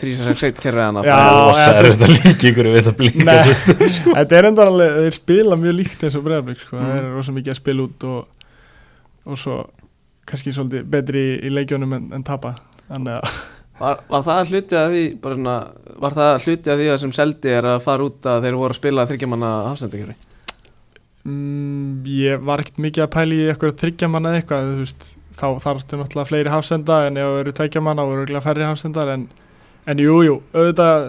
361 kerfið hann Já, Það er rosa eða þú veist- erfitt að líka ykkur við það blíka Nei. sýst [LAUGHS] þetta er enda alveg, þeir spila mjög líkt eins og breðablík sko. það er rosa mikið að spila út og, og svo kannski svolítið betri í leikjónum en, en tapa þannig að Var, var það hluti að því bara svona, var það hluti að því að sem seldi er að fara út að þeir voru að spila þryggjamanna hafsendakjöri? Mm, ég var ekkert mikið að pæla í eitthvað þryggjamanna eða eitthvað þú veist, þá þarfstu náttúrulega fleiri hafsenda en ef það eru tveggjamanna og eru færri hafsendar en, en jú, jú, auðvitað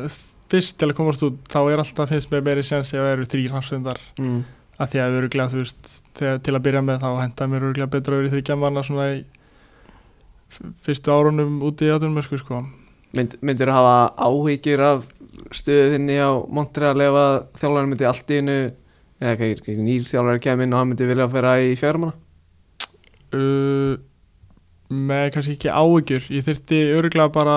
fyrst til að komast út þá er alltaf finnst mér meiri séns ef það eru þrýr hafsendar Mm. að því að við eru þú veist, þegar, til að byrja með þá henda mér örgulega betra að vera í þryggjamanna svona í f- fyrstu árunum úti í aðunum sko. Mynd, myndir hafa áhyggjur af stöðu þinni á Montreal ef að þjálfarinn myndi allt í innu eða hvað er nýr þjálfarinn kemur inn og hann myndi vilja að færa í fjármanna? uh, með kannski ekki áhyggjur ég þyrfti örgulega bara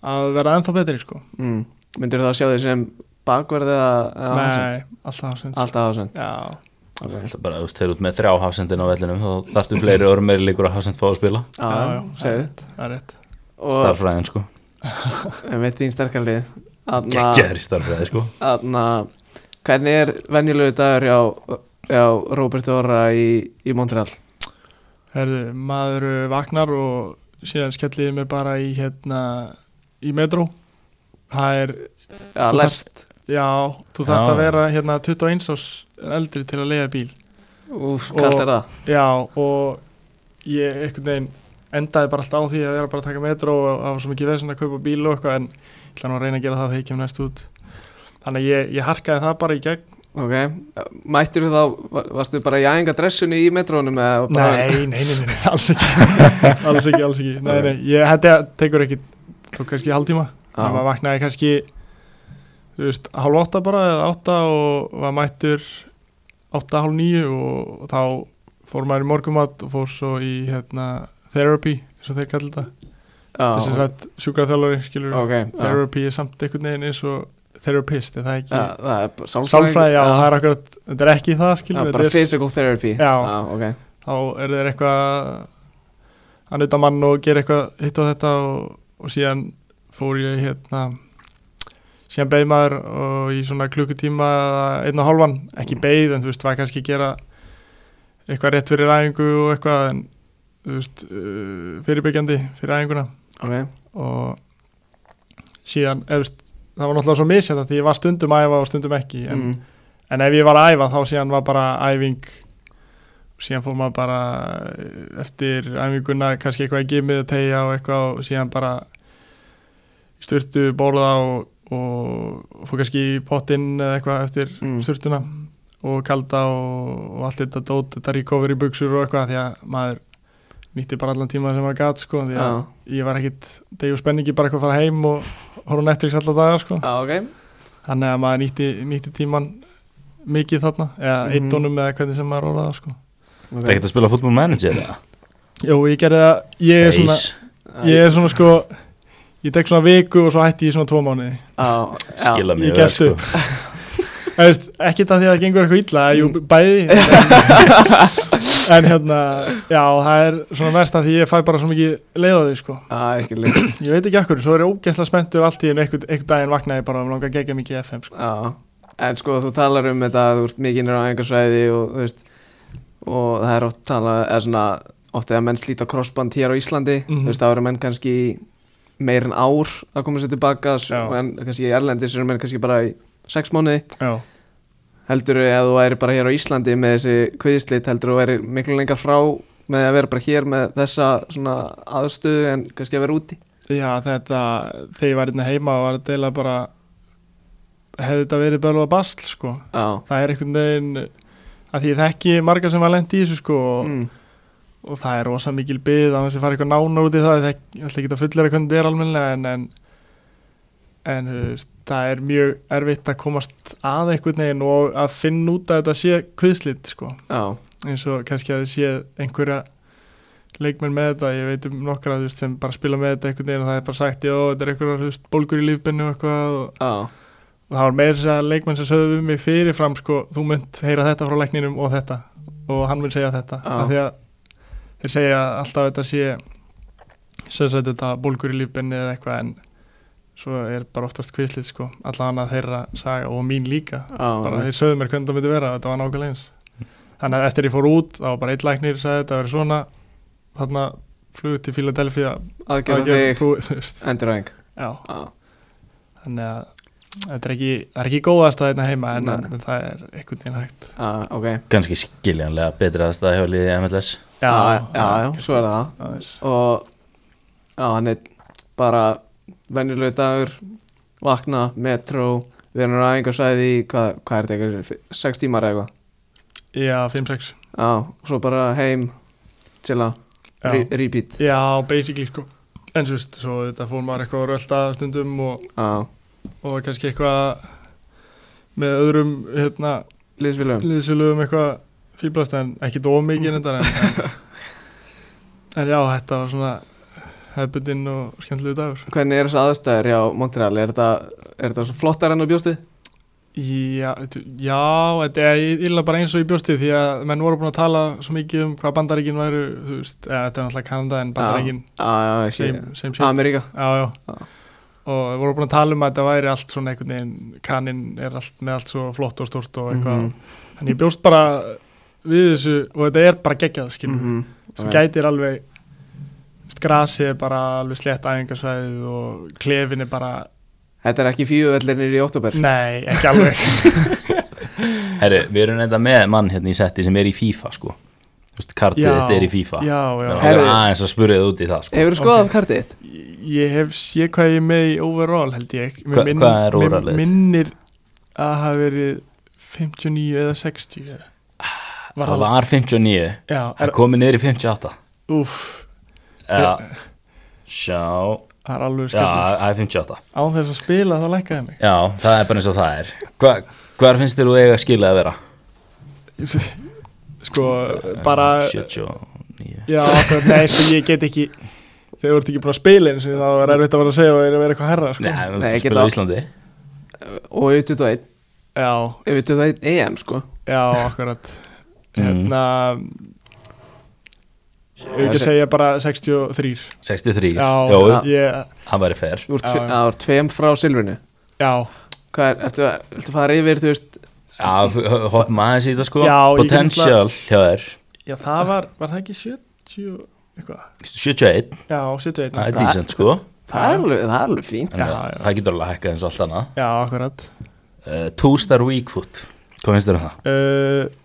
að vera ennþá betri sko Mm. Myndir það sjá því sem bakverð eða eða hafsend? Nei, alltaf hafsend Alltaf hafsend. Já, Okay. bara, þú veist, þeir eru út með þrjá hafsendin á vellinum þá þarftu fleiri orð meiri líkur að hafsend fá að spila Já, já, já, segðu. það er rétt Og starfræðin sko, um eitt þín sterkarlið. geggjaður í starfræði sko Þarna, hvernig er venjulegu dagur hjá, hjá Robert Dóra í, í Montreal? Herðu, maður uh, vagnar og síðan skelliði mig bara í hérna, í metró Það er, Já, Þú lest já, þú Já. þarft að vera hérna 21 árs eldri til að leiða bíl Úf, Og- kallt er það Já, og ég einhvern veginn endaði bara alltaf á því að vera bara að taka metró og það var svo mikið vesinn að kaupa bíl og eitthvað en ég ætla nú að reyna að gera það þegar ég kem næst út Þannig að ég, ég harkaði það bara í gegn Ok, mættir þú þá, va- varstu bara í æfingadressinu í metrónum eða var bara Nei, nei, nei, nei, nei, [LAUGHS] alls ekki Alls ekki, alls ekki Nei, nei, ég, þetta tekur ekki Tók kannski hálftíma Já. Það vaknaði kannski Þú veist, hálf átta bara eða átta og var mættur átta, hálf níu og þá fór maður í morgumat og fór svo í hérna, therapy, eins og þeir kallir þetta þess að Já, þetta sjúkraþjálari skilur ok já. therapy er samt einhvern veginn eins og therapist, er það ekki Já, Það er bara sálfræði sálfræði, já, það er akkurat þetta er ekki það, skilur Já, þetta bara er- physical therapy Já. ok þá eru þeir eitthvað að nuta mann og gera eitthvað hitt á þetta og, og síðan fór ég hérna síðan beigð maður og í svona klukkutíma eða einn og hálfan, ekki beigð en þú veist, var kannski að gera eitthvað rétt fyrir æfingu og eitthvað en þú veist, uh, fyrirbyggjandi fyrir æfinguna Ok, og síðan, eða þú veist, það var náttúrulega svo misjætt því ég var stundum að æfa og stundum ekki en mm. En ef ég var að æfa þá síðan var bara æfing síðan fór maður bara eh, eftir æfinguna kannski eitthvað að gimið að tegja og eitthvað og síðan bara í sturtu bólaða og, og fór kannski í pottinn eða eitthvað eftir Mm. sturtuna og kalda og, og allt þetta dót þetta recovery buksur og eitthvað því að maður nýtti bara allan tíma sem maður gat sko því að Já. ég var ekkit degi og spenningi bara eitthvað að fara heim og horfa á Netflix alla daga sko Já, ok þannig að maður nýtti, nýtti tíman mikið þarna eða mm Mhm. -hmm. eitonum eða hvernig sem maður orðaði það, sko. Það geta að spila fútbol manager eða? Jó, ég gerði það, ég er svona Face. ég er svona sko ég tek svona viku og svo hætti ég í svona tvo mánuði Skil skila ég mjög sko. gefst upp. Það veist, ekki það því að það gengur eitthvað illa, jú, [LAUGHS] bæði en, en hérna já, það er svona verst að því ég fæ bara svo mikið leið á því, sko Já, skil Já, ég veit ekki akkur, svo er ég ógæsla spenntur allt í en einhvern einhver daginn vaknaði bara og langar að gegja mikið í FM, sko en sko þú talar um þetta að þú ert mikið nýra á engarsvæði og þú veist og það er oft talað, eða svona oft eða menn slíta crossband hér á Íslandi Mhm. þú veist, þá eru menn kannski meir en ár að koma sér tilbaka s- Já. en kannski í Erlendis eru menn kannski bara í sex mánuði já, heldur ef þú væri bara hér á Íslandi með þessi kviðislit heldur þú væri miklu lengar frá með að vera bara hér með þessa svona aðstöðu en kannski að vera úti já þetta þegar ég var hérna heima var þetta eiginlega bara hefði þetta verið bölva basl, sko Já, það er einhvern veginn að því ég þekki margar sem var lent í þessu, sko og mm. og það er rosa mikil byð að þess að fara eitthvað nánar út í það það er alltaf ekki að fullera hvernig þetta er almennilega en, en, en þú veist, það er mjög erfitt að komast að einhvern veginn og að finna út að þetta sé kviðslit sko. já, eins og kannski að þau sé einhverja leikmenn með þetta, ég veit um nokkra þú veist, sem bara spila með þetta einhvern veginn og það er bara sagt, já, þetta er einhverjar þú veist, bólgur í lífbennu og eitthvað og, já og það var meira þess að leikmenn sem sögðu við mig fyrirfram sko, þú mynd heyra þetta frá leikninum og þetta og hann mynd segja þetta Já. af því að þeir segja alltaf að þetta sé sem sagt þetta bólgur í lífbenni eða eitthvað en svo er bara oftast kvislið sko allan að þeirra saga og mín líka Já, bara einmitt. þeir sögðu mér hvernig það myndi vera þetta var nákvæmlega eins þannig að eftir ég fór út þá var bara einn læknir sagði þetta verið svona þarna flugur til Philadelphia aðgerða aðgerð þig [LAUGHS] þú- þú veist, enduræðing já Já, þannig að þetta er ekki, það er ekki góðast að þetta heima en, Nei. en það er einhvern veginn hægt já, ok Ganski skiljanlega betri aðstæða hjá liðið MLS Já, já, já, svo er það aðeins. og já, hann er bara venjulegu dagur vakna, metro við erum á engarsvæði í, hvað, hvað er þetta, eitthvað, sex tímar eða eitthvað já, 5-6 Já, svo bara heim chilla, Já. re repeat já, basically sko en svo veist, svo þetta fór maður eitthvað að rölda stundum og, Já, og kannski eitthvað með öðrum hérna, liðsfélögum liðsölugum eitthvað fýblast en ekki dó mikið en, en, [LAUGHS] en já, þetta var svona hefbundinn og skemmtilegu dagur Hvernig er þessi aðstæður hjá Montreal? Er þetta, er þetta svo flottar enn á bjóstu? Já, þetta- já, þetta er illa bara eins og ég bjósti því að menn voru búin að tala svo mikið um hvað bandaríkin væru, þú veist, eða, þetta er náttúrulega Kanada en bandaríkin, Já, já, já, same, same ekki shit. Ameríka Já, já. Já. Og þeir voru búin að tala um að þetta væri allt svona einhvern veginn, kaninn er allt með allt svo flott og stort og eitthvað. Mhm. En ég bjóst bara við þessu og þetta er bara geggjað, skiljum. Mm Mhm. Svo Ok. gætir alveg, þú veist, grasið er bara alveg slétt æfingarsvæðið og klefin er bara, Þetta er ekki fjöðvellinir í óttúber nei, ekki [LAUGHS] alveg. Herru, við erum enda með mann hérna í setti sem er í FIFA sko Þú veist, kartið Já, þetta er í FIFA já, já. Þannig að það er Herru. aðeins að spurja þið út í það sko Hefur þú skoðað okay. kartið þitt? Ég hef sé hvað ég er með í overall held ég Mér Hva- hvað er mér overallið? Minnir að hafa verið 59 eða 60 eða. Var Það það var 59, Já, það er, er komið niður í 58 úf, Já, Eh, sjá það er alveg Já, skemmt það er 58 Án þess að spila þá lækkaði mig [LAUGHS] Já, það er bara eins og það er Hva, Hvar finnst þér þú eiga skilið að vera? Sko, bara Eh, 79 Já, akkur, nei, sko, ég get ekki Þegar þú ert ekki búin að spila eins og þá er erfitt að vera að segja og er að vera eitthvað herra sko. Nei, við Nei, erum ég get spilað á það. Íslandi Og yfir 21, Já, yfir 21 EM sko já, akkurat Mhm. Hérna Ég vil ekki að segja bara 63 63, Já, Jó, já. ég, hann væri fer Þú ert Já, tve- já. það voru tveim frá silfrinu já, Hvað er, ertu, að- viltu fara yfir, þú veist Já, f- hoppum aðeins í það sko Já, ég get Potential hjá þér já, það var, var það ekki 70 eitthvað, 71, já, 71 það er decent sko Það er alveg, það er alveg fín En Já, það- já. Það getur alveg að hækka eins og allt annað já, akkurat uh, Two star weak foot Hvað finnst þér um það? uh,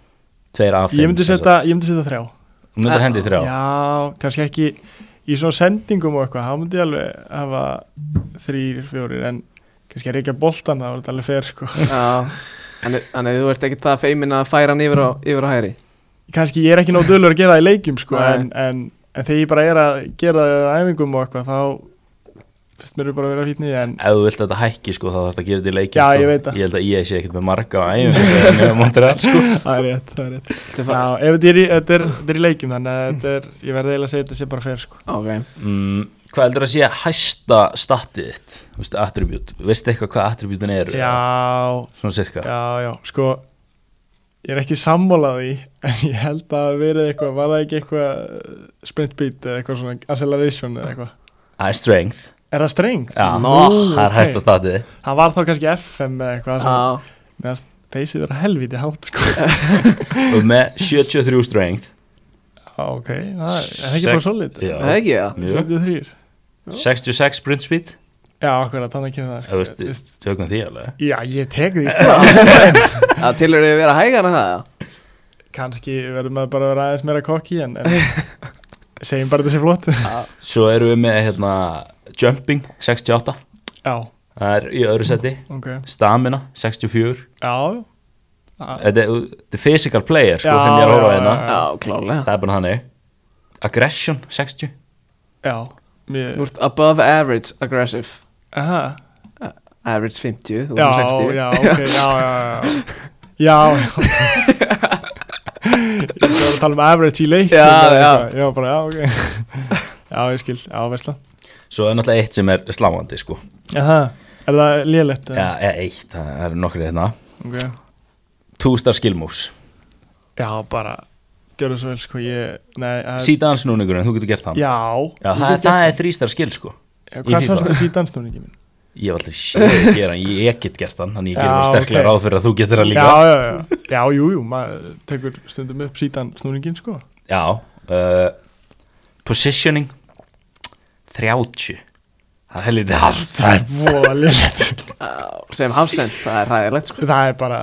Tveir af fimm ég myndi sem setja sagt. ég myndi setja þrjá, Þú myndir hendi þrjá já, kannski ekki í svona sendingum og eitthvað, þá myndi ég alveg hafa þrýr, fjórir en kannski er ekki að boltan, það var þetta alveg fer sko. Já Þannig þannig að þú ert ekki það feimin að færa hann yfir á, yfir á hæri kannski ég er ekki nóg dölur að gera það í leikjum sko, Nei. en, en, en þegar ég bara er að gera það á æfingum og eitthvað, þá fyrst mér er bara að vera fítni en ef þú vilt að þetta hækki sko þá þarf þetta að gera þetta í leikjum Já, sko. ég veit það. ég held að ég sé ekkert með marga á sko, æfum með Montreal sko [LAUGHS] það er rétt, það er rétt Viltu Já, fara? ef þetta er, í- þetta er, þetta er í leikjum þannig að þetta er, ég verði eiginlega að segja þetta sé bara fer sko. Ok mm, hvað heldur að sé hæsta statið þitt þú veist, attribút, veistu eitthvað hvað attribútin eru Já, svona cirka já, já, sko ég er ekki sammálað í en ég held að hafi verið eitthvað, var það ekki eitthvað uh, sprint beat eða eitthvað svona acceleration eða eitthvað það er strength, Er það strength? já, Nó, það er ok. hæsta statið [LAUGHS] Það var þá kannski FM eða eitthvað sem Já meðan peysið vera helviti hátt sko. og með 73 strength Já, ok, það er er það ekki bara Sex- solid já, Það er ekki það mjög. 73 66 sprint speed Já, akkurat, þannig að kemur eða það þú veist, tökum því alveg Já, ég tek því [LAUGHS] Það tilur við að vera hægan að það Kannski verðum að bara vera aðeins meira kokki en, en segjum bara þessi flott svo erum við með hérna jumping, 68 Já, það er í öðru seti ok stamina, 64 Já, já þetta er, þetta er physical player sko, Já, sem ég er að horfa á já, hérna já. Já, klálega það er bara þannig aggression 60 Já, mér Þú ert above average aggressive Aha, Average 50, þú já, ert 60 já, ok, já, já, já Já, já [LAUGHS] Ég var að tala um average í leik Já, já. Já, bara, já, ok [LAUGHS] Já, ég skil, já, veistla svo er náttúrulega eitt sem er sláandi sko. Aha, er það lélegt? ja, eða eitt, það er nokkri hérna Ok two star skill moves Já, bara, gjörðu svo vel, sko, ég Nei, að síðan snúningurinn, þú getur gert það Já, Já, það, er, það er three star skill sko er í Hvað FIFA. sástu síðan snúningi minn? ég hef aldrei séð að [LAUGHS] gera hann, ég, ég get gert hann þannig ég gerir Já, mér sterklega ok. ráð fyrir að þú getur það Já, líka já, já, já, jú, jú, maður tekur stundum upp síðan snúningin, sko já uh, positioning 30 það er helviti hart Það er voða lélegt Já, Sem hafsend, það er hægilegt sko Það er bara,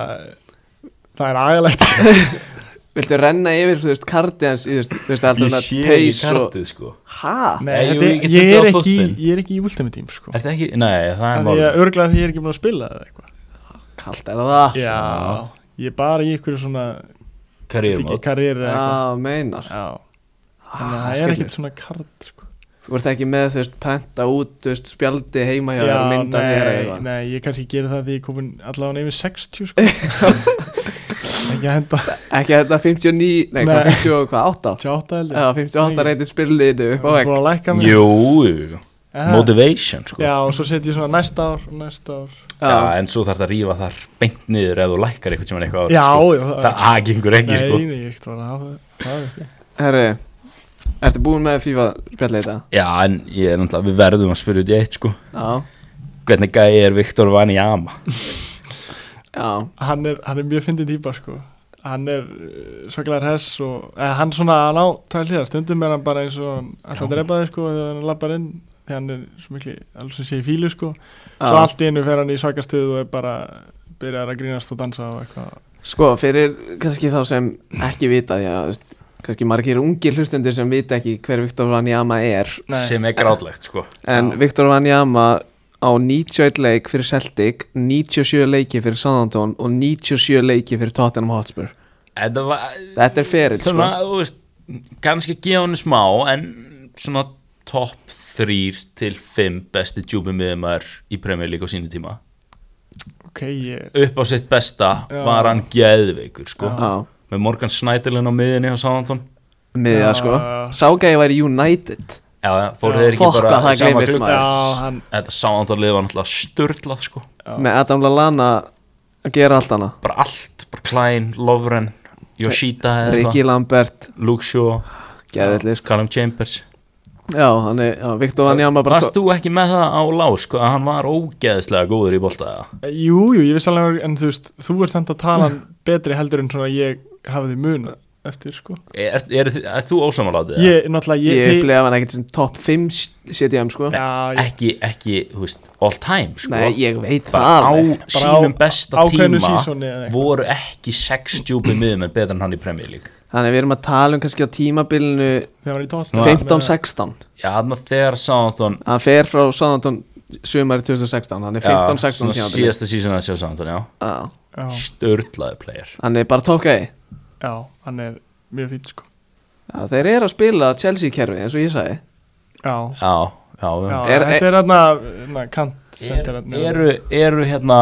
það er agalegt Viltu renna yfir, þú veist, kardians í, þú veist, þú veist, alltaf ég svona sé ekki pace og kartið sko Hæ? [LAUGHS] Nei, Nei, þetta jú, er, ég get ég, fundið er á ekki, fótboltinn. ég er ekki í Ultimate Team sko. Er þetta ekki, nei, það er Þannig málið að örglega því ég er ekki búin að spila eða eitthvað Kallt er það Já, ég er bara í ykkur svona ekki Karriérmót karrieri eða eitthvað Já, meinar Já, þannig að Ah, það er ekkert skellur. svona kard sko. Þú ert ekki með, þú veist, prenta út, þú veist, spjaldi heima hjá þér Já, og mynda þér eða nei, eitthvað nei, ég kannski geri það því ég er komin allavega yfir [LAUGHS] 60 sko. Ekki að henda Ekki þetta 59, nei, hvað Nei. 50 og hvað, 8 tjáta heldur Já, 58 reytir spilliðinu upp á Það er vegg búin að lækka mig Jú, jú. motivation sko. Já, og svo set ég svona næsta ár, næsta ár Já, Já, en svo þarf þetta að rífa þar beint niður ef þú lækkar eitthvað sem er eitthvað árið, Já, sko. já, það það aðgengur ekki Nei, sko. nei, ég ekkert var að hafa það er ekki. herri Ertu búinn með FIFA spjallið þetta? Já, en ég er náttúrulega, við verðum að spyrja út í eitt sko. Já, hvernig gæi er Viktor Vanjama já, hann er, hann er mjög fyndin típa sko hann er svaklegar hess og eða, hann svona hann á tvær hliðar stundum er hann bara eins og hann alltaf Já. drepa þig sko þegar hann lappar inn þegar hann er svo mikli alls sem sé í fílu sko svo já. allt í einu fer hann í svakastuð og er bara byrjar að grínast og dansa og eitthvað Sko, fyrir kannski þá sem ekki vita því að, þú veist, kannski margir ungir hlustendur sem vita ekki hver Viktor Vanjama er Nei. sem er grátlegt sko. En Viktor Vanjama á 91 leik fyrir Celtic 97 leiki fyrir Southampton og 97 leiki fyrir Tottenham Hotspur þetta var Þetta er ferill, sko. svona, þú veist, kannski gefa henni smá en svona topp þrýr til fimm besti djúpum miðumar í Premier League á sínu tíma ok ég upp á sitt besta Já. var hann geðveikur sko. Já, með Morgan Schneiderlin á miðinni á Sáðantón miðja Já. sko Ságæði væri United já, já, fóru Já. þeir ekki Fokk bara að það í sama gleymist, klúbb? maður. já Nice. hann þetta Sáðantón var náttúrulega störtlað sko. með Adam Lallana að gera allt hana bara allt, bara Klein, Lovren Yoshida eða Ricky eitthvað, Lambert, Luke Shaw geðvillig sko. Callum Chambers Já, hann er, já, Viktor Vanjama bara varst þú ekki með það á lág sko, að hann var ógeðslega góður í bolta eða? Eh, jú jú ég vissi alveg en þú veist þú ert samt að tala hann betri heldur en svona ég hafði mun eftir sko er, er, er, er þú ósamalátið? ég náttúrulega Ég ég, upplega hann ekkert sem top 5 CDM sko já, ég ekki, ekki, þú veist, all time sko. Nei, ég veit það bara á alveg sínum á- besta ákveðnu tíma sísoni eða eitthvað. voru ekki sex djúpið miðum en betur en hann í Premier League Þannig við erum að tala um kannski á tímabilinu þegar hann var í Tottenham 15-16 Já, þannig að þegar Sáðantón Hann fer frá Southampton sumari 2016 Hann er 15-16 tímabilinu Síðasta sísona að sjá Sáðantón, já Já, Já, Störlaði player hann er bara tókaði já, hann er mjög fín sko Já, þeir eru að spila Chelsea kerfið eins og ég sagði Já, Já, já, já, Já, já. Er- þetta er hérna kant Er, sendir þarna. eru, eru hérna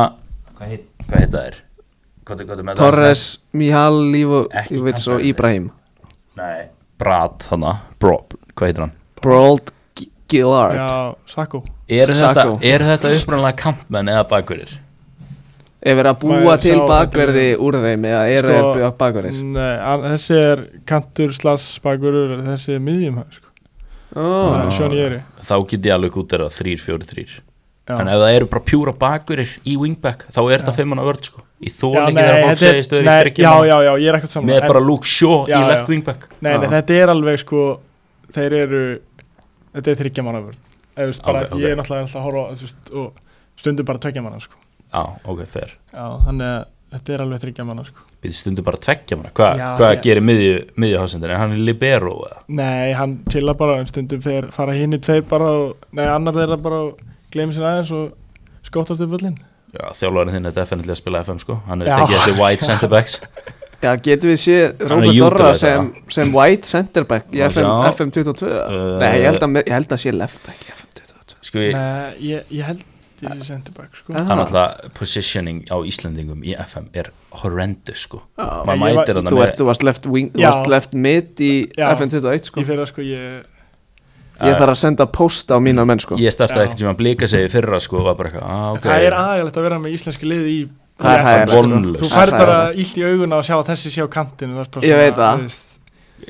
hvað heit, hvað heita þær? Hvað, hvað, hvað, Torres, Mihal, Lívo, Ekki Ívits og Kanté. Íbrahim Nei, Brad hana, Bro, hvað heitir hann? Brold Gillard Já, Sako Eru þetta, Sacco. eru þetta upprunalega kantmenn eða bakverðir? Er verið að búa Maður til sá- bakverði úr þeim eða eru Sko- þeir bakverðir? Nei, an- þessi er kantur slags bakurur Þessi er miðjum sko. Oh. Það er Sjón Jeri Þá get ég alveg út þeirra 3-4-3 Já, En ef það eru bara pjúra bakverðir í wingback þá er þetta fimmanna vörð sko Í Já, þólingi nei, þegar fólk þetta er- segist þau nei, eru ekki Já, já, já, ég er ekkert saman Með bara Luke Shaw Já, í left já. wingback Nei, nei, Já. þetta er alveg sko Þeir eru Þetta er þryggja manna vörð Ef þú veist, bara, Ok, ok. Ég er náttúrulega alltaf að horfa á, þú veist, og stundum bara tveggja manna sko. Já, ok, fair Já, þannig að þetta er alveg þryggja manna sko. Við stundum bara að tveggja manna Hva, Já, Hvað því- gerir miðju, miðjuhásendin? Er hann libero eða? Nei, hann chilla bara en stundum fer, fara hinn í tvei bara og, Nei, annar þeirra bara og gleymi sér aðeins og skóttast upp völlin Já, þjálfarinn þinn er definitílega að spila FM sko Hann Já. er tekið þessi white center backs [LAUGHS] Já, getum við séð Hann er Róbert Þorra Utah, sem, sem white centerback í Má FM, sjá. FM22 Uh, Nei, ég held, að, ég held að sé leftback í FM22 Sko, ég, Nei, ég, ég held ég sé sendi bak sko. Ah. hann alltaf positioning á Íslandingum í FM er horrendus sko Já. Maður Ég var- mætir hann Þú ert, þú varst left, wing, þú Já. varst left mid í Já. FM21 sko Ég fyrir að sko ég Ég þarf að senda post á mína menn sko Ég startaði Já. ekkert sem að blika sig í fyrra sko og var bara eitthvað, ah, ok Það er aðgæðlegt að vera með íslenski liði í Það er í hægilegt, FM, sko. Þú Vonlaust. færð Það er bara illt í auguna og sjá að þessi sé á kantinu það er bara Ég svona, veit það. þú veist,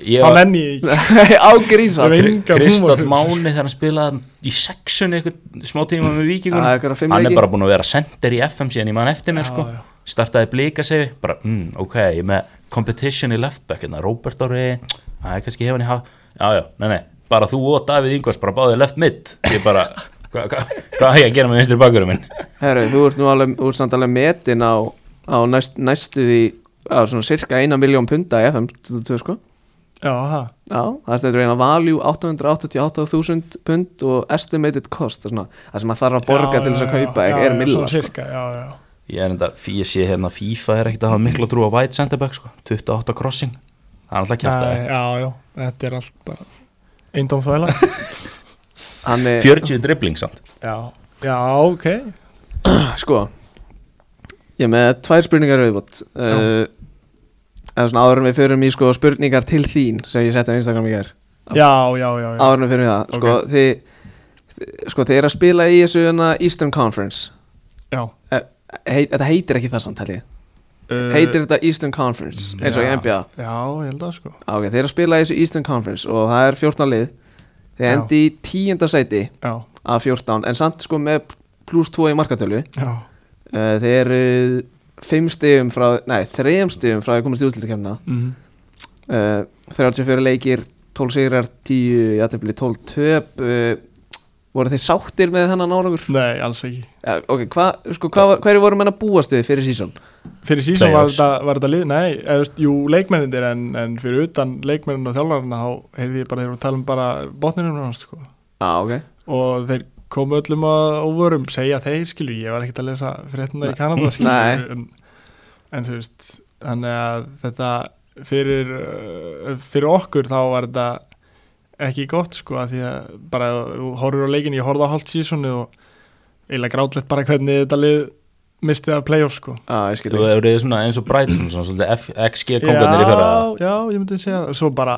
Ég Það var menn [LAUGHS] ég ekki [LAUGHS] Á grísa Ég veit- Það engan Kristall húmor. Máni þegar hann spilaði í sexunni eitthvað smá tíma með er vikingunum eitthvað fimm Hann er leiki bara búin að vera sender í FM síðan ég man eftir mér Já, sko já. Startaði blika sig, bara mm, ok, ég er með competition í leftback hérna, Robert Ári, það er kannski hefan í haf Já, já, nei, nei, bara þú og Davíð Ingvars bara báðið left mid Ég bara, hvað hva, hva, hva ég að gera með vinstri bakurum minn? Herru, þú ert nú alveg, þú ert samt alveg metin á, á næst, næstu því á svona cirka eina miljón punda í FM22 sko Já, ha. Já, það stendur eina value 888.000 pund og estimated cost og svona, það sem maður þarf að borga Já, til þess já, að kaupa já, já, er já, milla Svona sko. cirka, já, já Ég er enda, ég sé hérna FIFA er ekkert að hafa mikla trú á White Centerback sko, 28 crossing, það er alltaf kjátt Nei, Já, já, þetta er allt bara Eindóm [LAUGHS] þvæla Hann er, 40 dribbling samt Já, já, ok sko Ég er með tvær spurningar auðvot uh, eða svona áður en við förum í sko spurningar til þín sem ég setti á Instagram í gær Já, já, já, já áður en við förum í það, sko Ok. þið, þið sko þið er að spila í þessu hérna Eastern Conference Já Eh, heit, þetta heitir ekki það samt held ég Uh, Mm, heitir þetta Eastern Conference eins og í já. NBA Já, ég held að sko ah, okay, þeir eru að spila í þessu Eastern Conference og það er 14 lið þeir Já. endi í 10. sæti Já, af 14 en samt sko með pluss 2 í markatölu uh, já, þeir eru 5 stigum frá nei 3 stigum frá að komast í útlýttakefna Mhm. mm. uh, 34 leikir 12 sigrar 10 játefli 12 töp uh, voru þeir sáttir með þennan árangur Nei, alls ekki ja, ok, hvað sko, hva, hverju voru menn að búast við fyrir sísón Fyrir sísón var Playoffs. þetta, var þetta lið, nei, eða, þú veist, jú, leikmennindir en, en fyrir utan leikmennin og þjálfarna þá heyrði ég bara, þeir voru að tala um bara botninum hans, sko. ah, ok og þeir komu öllum að óvörum, segja þeir, skilur, ég var ekkert að lesa fréttina í Kanada, skilur, Nei. en, en þú veist, þannig að þetta fyrir, uh, fyrir okkur þá var þetta ekki gott, sko, að því að bara þú horfir á leikin, ég horfði á hálft sísónu og eiginlega grátlegt bara hvernig þetta lið mistið af playoff, sko. ah, ég skil Þú ekki. hefur reyðið svona eins og Brighton svona svolítið F- XG kongarnir í fyrra Já, já, ég myndi segja það Svo bara,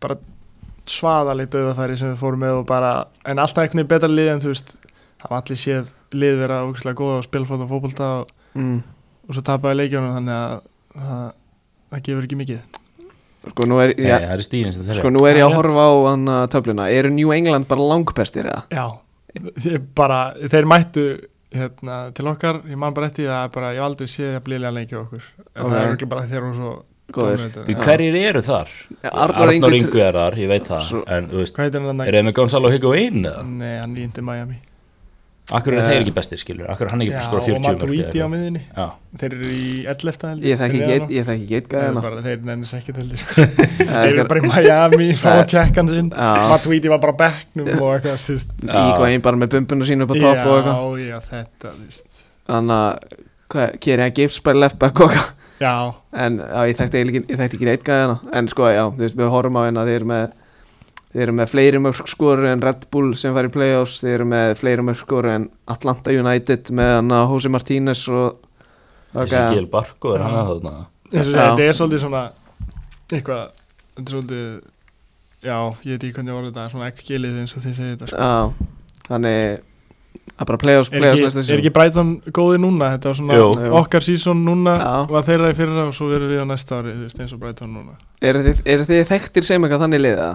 bara svaðalegt auðafæri sem við fórum með og bara, en alltaf einhvern veginn betra lið en þú veist, það var allir séð lið vera ógæslega góða og spilfóta og fótbolta og, mm. og svo tapaði leikjónum þannig að það, það gefur ekki mikið sko nú er Nei, já, það er stíðin sem þeirra Sko nú er ég að Já, horfa á hann töfluna Eru New England bara langpestir eða? Já, ég bara, þeir mættu hérna, til okkar, ég man bara eftir því að bara, ég hef aldrei séð að bliðlega leiki á okkur en Ok. það er örugglega bara þegar hún svo Góður dominated. Við Hverjir eru þar? Ja, Arnur Arnór Ingi Ingu er þar, ég veit það Svo- En þú veist, Hvað heitir hann eru þannig? þeir með Gonzalo Higuaín eða? Nei, hann rýndi Miami Akkur eru Eh. þeir ekki bestir skilur? Akkur er hann ekki bara skora 40 og Maturíti á mörg? miðinni Já, Þeir eru í 11. held Ég þekki fyrir geit- neðan á. ég þekki Þeir eru geitgæðina bara- Þeir nennis ekki til þér sko. Þeir Þeir eru bara í [LAUGHS] Miami Fá Það að er- tjekka hann sinn Já. Matvíti var bara á bekknum og eitthvað þú veist. Ígóin bara með bumbuna sínu upp á topp og eitthvað Já, já, þetta þú veist. Þannig að Kerian Gibbs bara left back og eitthvað Já, En já, ég þekkti eiginlega ekki- ég þekkti ekki geitgæðina En sko já, þú veist, við horfum á hérna Þeir eru hérna, með þeir eru með fleiri mörgskoru en Red Bull sem var í playoffs, þeir eru með fleiri mörgskoru en Atlanta United með hann að Jose Martínez og Þessi Gil Barko er Já. hann að þarna Já. eins og segja, þetta er svolítið svona eitthvað, þetta er svolítið já, ég veit ekki hvernig orðið þetta svona ekki gilið eins og þið segir þetta sko. Já, þannig að bara playoffs, er, playoffs ekki, næsta er season. ekki Brighton góði núna þetta var svona Jú. Jú. okkar sísón núna Já. var þeirra í fyrra og svo verðum við á næsta ári þú veist, eins og Brighton núna Eru þið, er þið þekktir sem eitthvað þannig liða?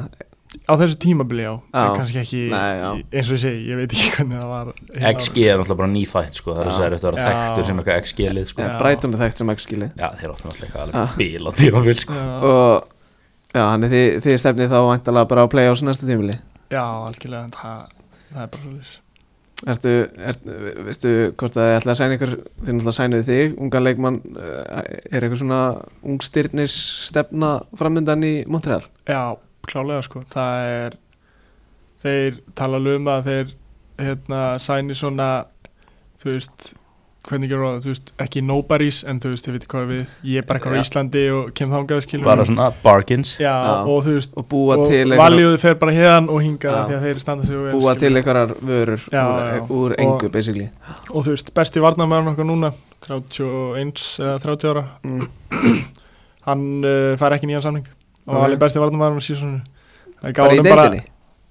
á þessu tímabili já, Já. en kannski ekki Nei, já. eins og ég segi, ég veit ekki [LAUGHS] hvernig það var hérna XG er náttúrulega bara nýfætt sko, það er Já. að segja þetta að vera Já. þekktur sem eitthvað XG lið sko. Já, Ah. Já, Já. Brighton er þekkt sem ekki skilið þeir áttu náttúrulega eitthvað alveg bíl á tímabil sko. árið. Og já, þannig þið, þið stefnið þá væntalega bara á playoffs næsta tímili já, já, algjörlega en það, það er bara svolítið Ertu, ertu, veistu hvort að þið ætla að sæna ykkur, þið náttúrulega sænuð þig unga leikmann, eh, er eitthvað svona ungstyrnis stefna framöndan í Montreal? Já, klálega sko Það er Þeir tala alveg um að þeir hérna, sæni svona þú veist, hvernig gerur það þú veist, ekki nobody's en þú veist, ég veit hvað við ég er bara eitthvað á Já. Íslandi og kem þangað skilur bara svona bargains Já, Já. og þú veist Og búa og til einhverjar- valjúðu fer bara hérðan og hingað Já. af því að þeir standa sig vel, búa til skilur. einhverjar vörur Já, úr, já, já. úr Og- engu, basically og þú veist, besti varnamæður okkar núna 31 eða 30 ára Mm. [CLEARS THROAT] hann uh, fær ekki nýjan samning og Ok. var alveg besti varnamæður á sísonu Bara í deildinni?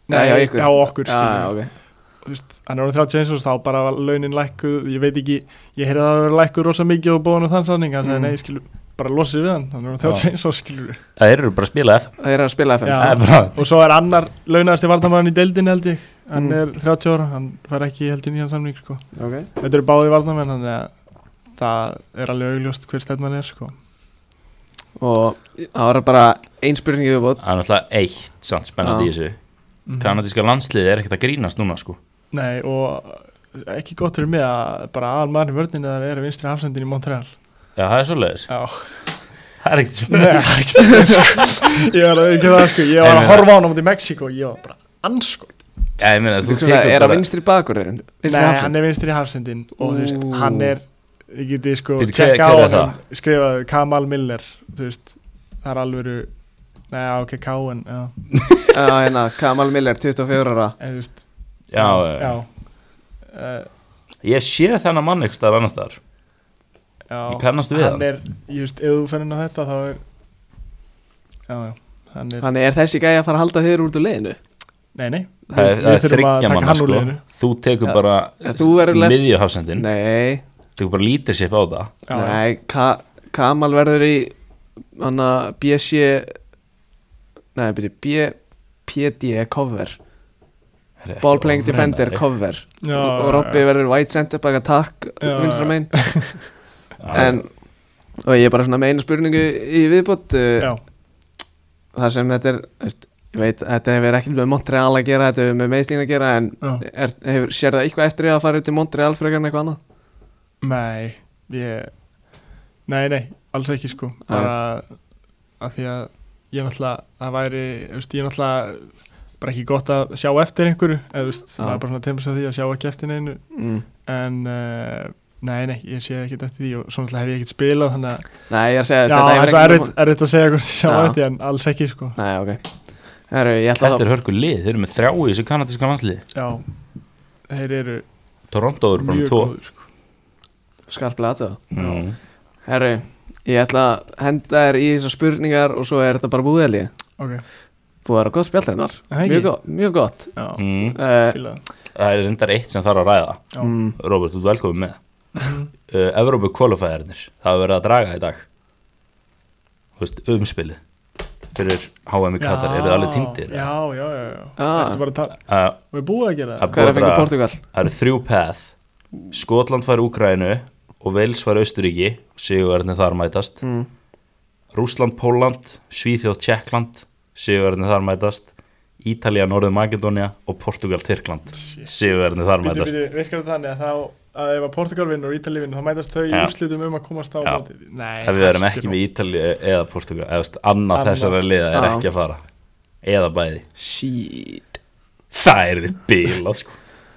Nei, Já, já, já, ykkur. okkur Já, skilur já, ok þú veist, hann er orðin 31 árs, þá bara var launin lækkuð, ég veit ekki ég heyrði að það verið lækkuð rosa mikið og bóðan og þann sanning hann sagði Mm. nei, skilur, bara losið við hann hann er orðin 31 árs, skilur við. það eru bara að spila F Það er að spila FM Já. það er bara, og svo er annar launaðasti varnamæðan í deildin held ég, hann Mm. er 30 ára hann fær ekki held í nýjan samning sko. Ok þetta eru báði varnamæðan þannig að það er alveg augljóst hver stefnan er sko. og það var bara ein spurning viðbót það er náttúrulega eitt samt Já. spennandi í þessu Mhm. kanadíska landsliði er ekkert að grínast núna sko. nei, og ekki gott fyrir mig að bara almaðurinn vörðinni þar er vinstri hafsendin í Montreal já, það er [LAUGHS] svoleiðis, já það er ekkert Nei, spennandi ekkert sko. Ég var að ekki það sko Ég var Nei, að nei. horfa á hann á móti Mexiko Ég var bara anskot já, ég meina, þú Þú tekur svona, er að bara- vinstri bakurðurinn Nei, vinstri hann hafsend er vinstri hafsendin Og þú veist, Ú. hann er Ég geti sko Bíddu, hver- Tjekka á hver er hann Skrifaðu Kamal Miller Þú veist, það er alvöru Nei, já, ok, Káen Já, Já, hérna, Kamal Miller, 24 ára en þú veist já, já. Já, Eh, ég sé þennan mann ykkur staðar annars staðar já Ég kannast við hann hann. er, Ég veist, ef þú fer inn á þetta Þá er Já, já Hann er Þannig er þessi gæja að fara að halda þeir út úr leiðinu Nei, nei það er, við- það við er þurfum að þryggja taka manna hann úr sko. liðinu. þú tekur Já. bara Já, þú verður left- miðjuhafsendin Nei, tekur bara leadership á það Já, já. nei, Ka Kamal verður í hana BC Nei, byrju, B PD cover Það er ekki Ball playing ofan defender að þig. cover Já, og já, Robby já. verður white center back attack Já, vinstra já. megin Já. en og ég er bara svona með eina spurningu í viðbót uh, Já, þar sem þetta er veist, ég veit, þetta hefur ekkert með Montreal að gera þetta hefur með meðslín að gera en já er, hefur, sér það eitthvað eftir því að fara upp til Montreal frekar en eitthvað annað Nei, ég Nei, nei, alls ekki sko bara að því að ég náttúrulega, það væri þú veist, ég náttúrulega bara ekki gott að sjá eftir einhverju eða þú veist, Já. maður bara svona temur sér því að sjá ekki eftir neinu mm. en uh, nei, nei, ég sé ekkert eftir því og svo náttúrulega hef ég ekkert spilað þannig að Nei, ég er að segja já, þetta það hefur er svo ekkert erfitt, erfitt að segja hvort ég sjá Já. eftir en alls ekki sko Nei, ok Heru, ég ætla Þetta þá er hörku lið, þeir eru með þrjá í þessu kanadíska landsliði Já, þeir eru Toronto eru bara með mjög tvo góður sko skarplega aðtöða Mm. Herru, ég ætla að henda þér í þessar spurningar og svo er þetta bara búið elgi Ok, Búið að vera gott spjallreinar Hei. mjög, gott- mjög gott já, Mm. uh, fílað Það er reyndar eitt sem þarf að ræða Já. mm, Robert, þú ert velkomin með Mhm. uh, Evrópu kvalifæðarnir, það hefur verið að draga í dag Þú veist, umspilið fyrir HM í Katar, eru þið alveg týndir? Já, já, já, já Ah. Ertu bara að tala Uh, Við erum búið að gera það Að- Hver er að fengið Bara- Portugal? það eru þrjú path Skotland fær Úkrænu og Vels fær Austuríki Sigurverðin þar mætast Mm. Rúsland, Póland, Svíþjóð, Tjekkland Sigurverðin þar mætast Ítalía, Norður Makedónia og Portugal, Tyrkland Sigurverðin þar Bíddu, mætast bíddu, virkar það þannig að þá að ef að Portugal vinnur og Ítali vinnur þá mætast þau í Já. úrslitum um að komast á Já. mótið Nei, Ef við erum hættu ekki nú. með Ítalíu eða Portugal eða veist, annað Annað. þessara liða er Já. ekki að fara eða bæði Shit Það er þið bílað sko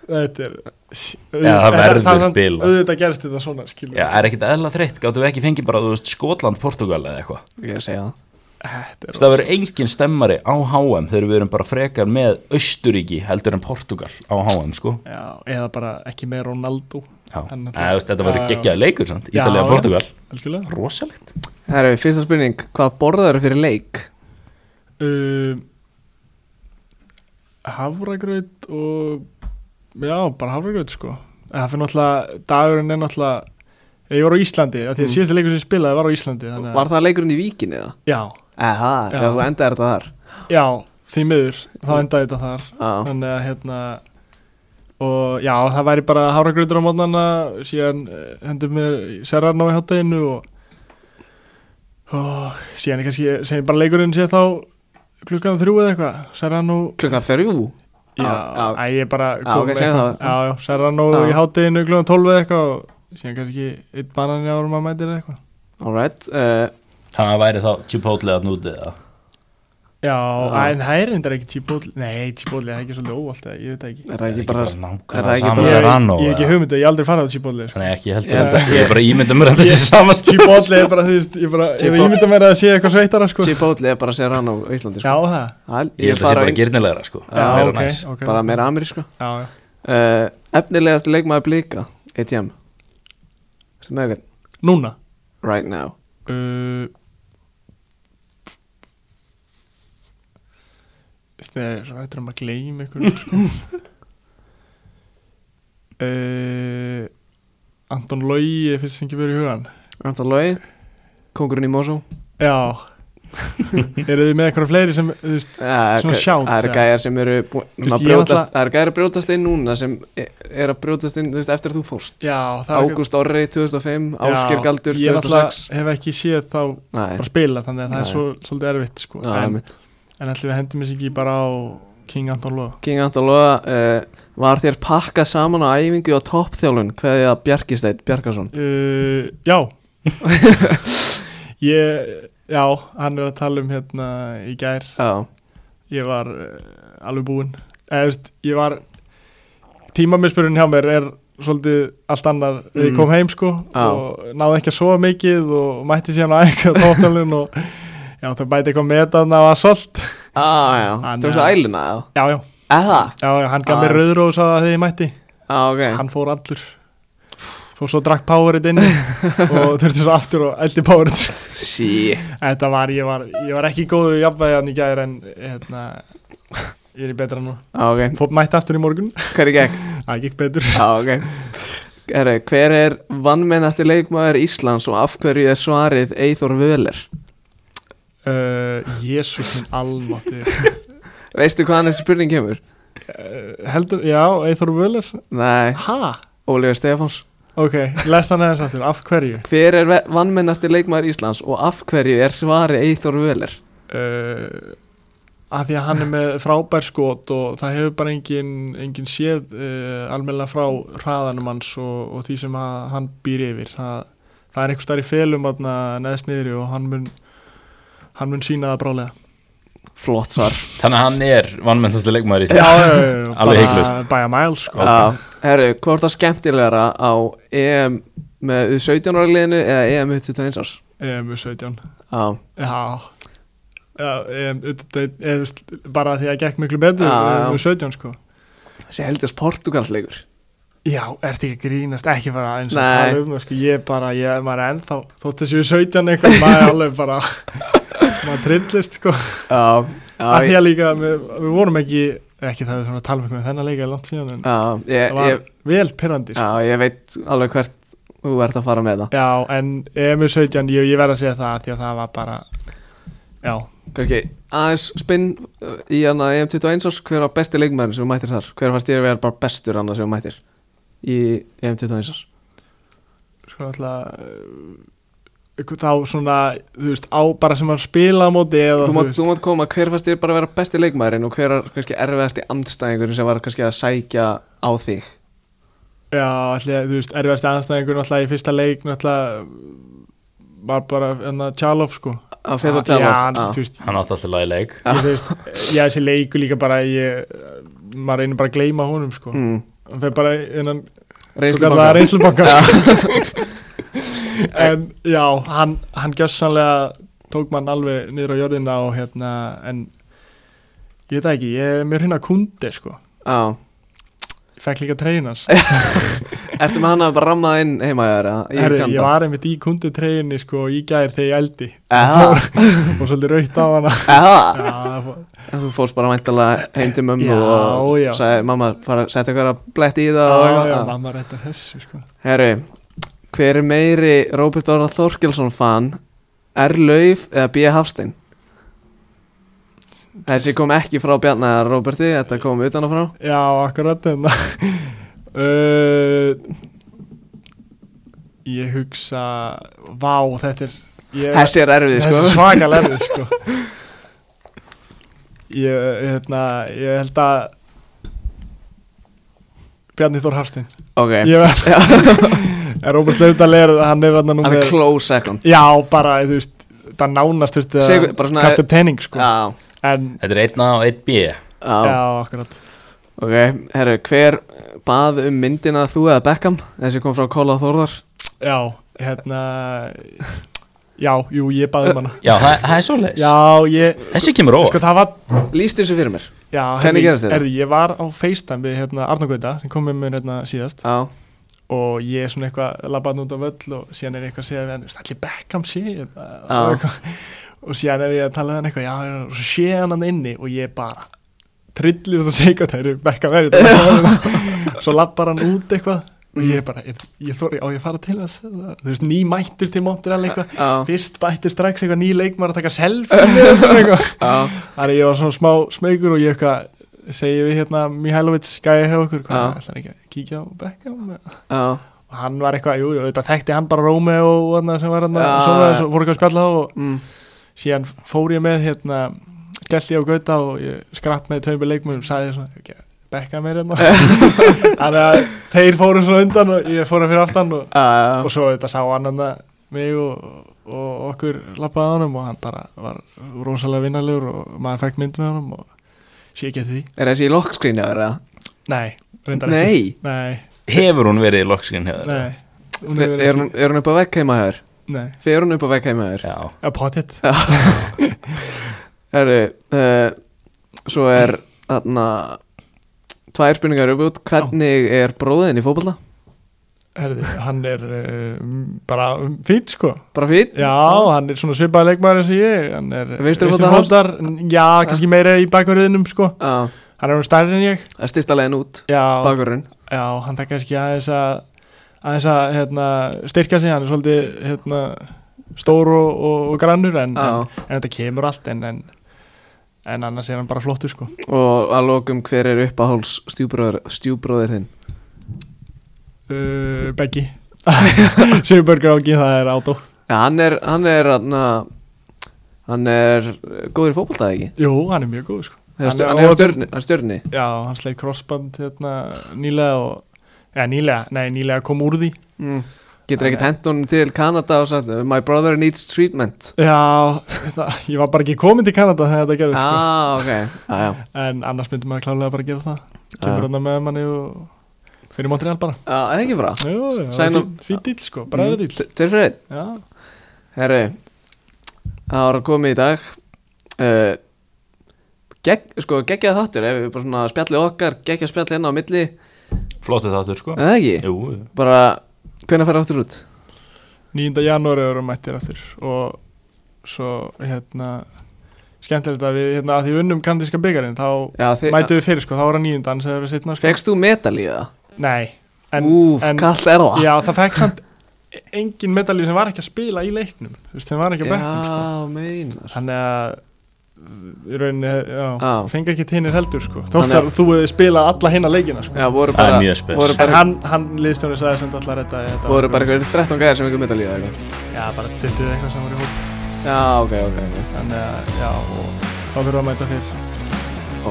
Þetta er Já, það Þetta- verður það er samt- bilað. Auðvitað gerst þetta svona, skilur Já, er ekkit eðla þreytt, gáttu við ekki fengið bara þú veist, Skotland, Portugal eða eitthvað Ég er að segja það Þetta Þess, Það verður engin stemmari á HM þegar við erum bara frekar með Östuríki heldur en Portugal á HM sko Já, eða bara ekki með Ronaldo Já, Hann Nei, náttúrulega- þú veist, þetta Já, verður já. geggjaði leikur sant? Já, Ítalið já. og Portugal Algjörlega Rosalegt Herru, fyrsta spurning, hvað borðar fyrir leik? um, Hafragraut og Já, bara hafragraut sko En Það fyrir náttúrulega, dagurinn er náttúrulega Ég var á Íslandi, af því að Mm. síðasta leikur sem ég spilaði var á Íslandi þannig að- Var það leikurinn í víkinni eða? Já, Eða, já, Já. þú endaði þetta þar já, því miður Þá endaði þetta þar Mm. Já, þannig að hérna og já það væri bara háragrautur á mótnana síðan eh, hendur mér serrarna á hjáteginu og, og síðan er kannski segjum bara leikurinn sé þá klukkan þrjú eða eitthvað serrarna klukkan þrjú já, já. já. Æ, ég bara Já, ok, segjum það. já, já, serrarna Já. í hjáteginu klukkan tólf eða eitthvað og síðan kannski eitt banan í árum að mætir eða eitthvað Alright, uh, Það væri þá Chipotle að nútið það já, Já. en það er reyndar ekki típóli nei, típóli, það er ekki svolítið óvalt eða, ég veit það ekki er það ekki bara er það nákvæmlega ekki sama bara- Serrano ég, ég er ekki eða? hugmyndu, ég hef aldrei farið á típóli Þannig ekki Ég heldur held þetta Ég er bara ímyndum mér að þetta sé [LAUGHS] sama stund Chipotle er bara, þú veist, ég bara, ég Chipotle. ímynda mér að það sé eitthvað sveitara, sko. Chipotle er bara að segja rann á Íslandi Já, sko. það. Það- Ég held að það sé fara bara í- gyrnilegra sko Já, Meira ok, næs. ok. bara meira amerísku Já, já. uh, Efnilegast leikmaður blika ATM sem er eitthvað Núna. right now Uh, Þegar, svo hættir um að gleyma ykkur, sko. [LAUGHS] uh, Anton Lói er fyrst sem ekki verið í hugan. Anton Lói, kongurinn í Mosó [LAUGHS] Já. Eru þið með eitthvað fleiri sem, þú veist, Ja, Svona ok, shout, Eh, Það eru ja. gæjar sem eru bú- svona Veistu, ég brjótast, náttúrulega- Það eru gæjar að brjótast inn núna sem e- er að brjótast inn þú veist, eftir að þú fórst já, það er Ágúst Orri 2005, Já, Ásker Galdur Ég náttúrulega 2006 hef ekki séð þá Nei, bara spila, þannig að það Nei. er svo, svolítið erfitt, sko. það er en, mitt En ætlum við hendum þessi ekki bara á King Anton Lóa King Anton Lóa uh, Var þér pakka saman á æfingu og toppþjálun Hverði að Bjarkisteinn Bjarkarsson uh, Já [LAUGHS] Ég, já, hann er að tala um hérna í gær Já, Ég var uh, alveg búinn Eða, þú veist, ég var Tímamispurinn hjá mér er svolítið allt annar mm. Ég Mm. kom heim sko Já. og náði ekki að sofa mikið og mætti síðan á eitthvað tóttalinn og já, það bæti eitthvað með þarna og að solt ah, já, Hann, tókst það eh, æluna eða? Já, já, Eða? já, já, hann gaf Ah. mér rauðrós að þegar ég mætti Já, ok hann fór allur fór svo drakk Powerade inni og þurfti svo aftur og eldi Powerade Sí þetta var, ég var, ég var ekki góðu jafnvægi hann í gær en hérna ég er í betra nú, Já, ok, fór mætti aftur í morgun hverði gekk? það gekk betur Já, ok Heru, Hver er vannmennasti leikmaður Íslands og af hverju er svarið Eithor Völer? uh, Jésús minn almátti Veistu hvaðan þessi spurning kemur? uh, heldur, já, Eithor Völer Nei, ha, Ólífur Stefáns ok, lest hann aðeins aftur af hverju Hver er ve- vannmennasti leikmaður Íslands og af hverju er svarið Eithor Völer? uh, að því að hann er með frábær skot og það hefur bara engin, engin séð uh, almennilega frá hraðanum hans og, og því sem að, hann býr yfir það, það er einhver starf í felum aðna, neðst niðri og hann mun hann mun sína það brálega Flott svar Þannig að hann er vannmennast leikmaður í já, stið já, já, já, Alveg bara hiklaust. by a mile sko. Já, herru, hvort það skemmtilegra á EM með 17 ára liðinu eða EM með 21 árs? um 17 Já, já Já, em, þetta er- eða, veist, bara því að það gekk miklu betur Já, já. um 17 sko þessi heldast portugalsleikur Já, ert ekki að grínast, ekki bara eins og Nei. tala um það, sko, ég bara, ég, maður er ennþá, þótt þessi við 17 eitthvað, maður er alveg [LAUGHS] bara, maður trillist, sko, Já, já, af því ég, að líka, við, við vorum ekki, ekki það við svona tala um eitthvað með þennan leika langt síðan, en já, ég, það var ég, vel pyrrandi, sko. já, ég veit alveg hvert þú ert að fara með það Já, en EMU 17, ég, ég verð að segja það, af því að það var bara, já, Kanski, aðeins spinn uh, í hana EM 21 árs, hver var besti leikmæður sem þú mættir þar? Hver fannst ég að vera bara bestur annað sem þú mættir í EM 21 árs? sko, alltaf, þá svona, þú veist, á bara sem var spila á móti eða, Þú þú mátt, veist, þú mátt koma, hver fannst ég bara að vera besti leikmæðurinn og hver er kannski erfiðasti andstæðingur sem var kannski að sækja á þig? Já, allir, þú veist, erfiðast aðanstæðingur náttúrulega í fyrsta leik náttúrulega var bara enna Tjálov sko Að fyrir að Já, tala? hann, þú veist, Hann átti alltaf lagi leik ég, þú veist Já, þessi leiku líka bara ég, maður reynir bara að gleyma honum sko mm. hann fer bara innan Reynslubanka [LAUGHS] reynslubanka En já, hann, hann gjössanlega tók mann alveg niður á jörðina og hérna en ég veit það ekki, ég er mér hérna kundi sko, Já, [LAUGHS] ég fekk líka treynas ertu með hana bara rammað inn heima þér eða? Í Herri, ég Uganda? var einmitt í kundi treyni sko í gær þegar ég eldi Eða, og svolítið raukt á hana eða Já, það fór- Þú fórst bara væntalega heim til mömmu Já, og já. sagði mamma, fara að setja eitthvað að bletti í það og [LAUGHS] já, eitthvað." já, mamma réttar þessu sko Herri, hver er meiri Róbert Orra Þorkelsson fan R. Lauf eða B. Hafstein? Þessi kom ekki frá Bjarni eða Róberti, þetta kom utan að frá Já, akkurat þetta [LAUGHS] uh, Ég hugsa Vá, þetta er ég, Þessi er erfið, Þessi sko er svakal [LAUGHS] erfið sko. ég, hérna, ég held að Bjarni Þór Hafstein Ok, Ég verð [LAUGHS] En Róbert Laudal er, hann er hann hann númer er close second Já, bara, þú veist Það nánast þurfti að Segur- bara svona- kasta upp tening sko. Já, En, Þetta er einn A og einn B já, já, akkurat ok Herru, hver bað um myndina þú eða Beckham? Þessi kom frá Kóla Þórðar Já, hérna Já, jú, ég baði um hana Já, það, það er svoleiðis Já, ég, Þessi kemur óvart sko það var Lýst þessu fyrir mér já, Hvernig gerðist þetta? herri, ég var á FaceTime við hérna Arnar Gauta sem kom með mér hérna síðast Já, og ég er svona eitthvað labbaðn út á völl og síðan er ég eitthvað að segja við hann "Veistu, allir Beckham sé þetta?" Já. og, eitthvað. og síðan er ég að tala við hann eitthvað já, já, og svo sé hann hann inni og ég bara trillir þetta að segja hvað það eru Beckham er þetta [LAUGHS] svo labbar hann út eitthvað og ég bara, ég, ég þóri, á ég að fara til hans eða? þú veist, ný mættur til Montreal eitthvað Já. fyrst bættir strax eitthvað ný leikmar að taka selfie með honum eitthvað. [LAUGHS] já, Þannig að ég var svona smá smeykur og ég eitthvað segi við hérna Mihailovic gæja hjá okkur, Já. hvað ætlar ekki að kíkja á Beckham já og hann var eitthvað, jú, jú, þetta þekkti hann bara Róme og annað sem var hann Já, svona, já. svo voru eitthvað að spjalla þá og mm. síðan fór ég með hérna skellt ég á gauta og ég skrapp með tveimur leikmönnum og sagði svona, ekki, bekka [LAUGHS] mér hérna þannig að þeir fóru svona undan og ég fóru fyrir aftan og, Já, og svo þetta sá hann hann mig og, og okkur lappaði á honum og hann bara var rosalega vinnalegur og maður fekk mynd með honum og sé ekki eftir því Er þessi í lockscreen eða? eða? nei, reyndar ekki Nei, nei, Hefur hún verið í lokskinn hefur nei Hún er, er, hún- er hún upp á vekk heima þér? Nei, Fer hún upp á vekk heima þér? Já, að potið Herru, uh, svo er þarna tvær spurningar upp út, hvernig er bróðin í fótballa? Herði, hann er uh, bara um, fýtt sko Bara fýtt? Já, hann er svona svipaði leikmaður eins og ég Hann er Vinstri fótar fótar Já, kannski meira í bakverðinum sko Já, Hann er hún stærri en ég það er styrsta leiðin út, Já, bakurinn já hann þekka kannski aðeins að aðeins að hérna, styrka sig Hann er svolítið hérna, stór og, og, og grannur en, Já. en, en þetta kemur allt en, en, en annars er hann bara flottur sko Og að lokum hver er uppáhalds stjúbróðir, stjúbróðir þinn? uh, Beggi [LAUGHS] Sigurbergur ágið, það er átó Já, hann er, hann er, hann hann er eh, góður í fótballa eða ekki? Jú, hann er mjög góð sko Hann, Hann er hann, hann er óöfn- stjörni, hann er stjörni Já, hann sleik crossband hérna nýlega og eða nýlega, nei nýlega kom úr því mm. Getur ekkert hent honum til Kanada og sagt My brother needs treatment Já, það, ég var bara ekki komin til Kanada þegar þetta gerðist sko. Ah, ok, ah, já, en annars myndi maður klálega bara gera það kemur hann með manni og fyrir Montreal bara já, það er ekki bra Jú, Sæn- fín, fín dýll sko, bræður dýll Tveir fyrir einn Já, Herru, það var að koma í dag uh, gegg, Sko, geggjað þáttur Ef við bara svona spjallið okkar, geggjað spjallið hérna á milli flottu þáttur sko Eða ekki? Jú, jú. Bara, hvenær fer aftur út? 9. janúari eru mættir aftur og svo hérna skemmtilegt að við, hérna, að því við unnum kandíska byggarinn þá Já, þi- mættu við fyrir sko, þá var hann nýjunda annars eða verið sitna sko. Fegst þú metal í það? Nei, en, Úf, en kallt er það Já, það fekk samt engin medalíu sem var ekki að spila í leiknum þú veist, sem var ekki að bekknum sko. Já, meinar þannig að í rauninni, já, Já. fengi ekki hinnir heldur sko. þótt Þannig að- að þú hefði spilað alla hinna leikina sko. Já, voru Það er bara mjög spes. Voru en bara, hann, hann liðstjóni sagði sem allar þetta, þetta voru bara einhverjum 13 gæðir sem ykkur metal í það eitthvað. já, bara duttuð eitthvað sem voru í hóp Já, ok, ok, ok þannig að, já, og þá fyrir að mæta fyrr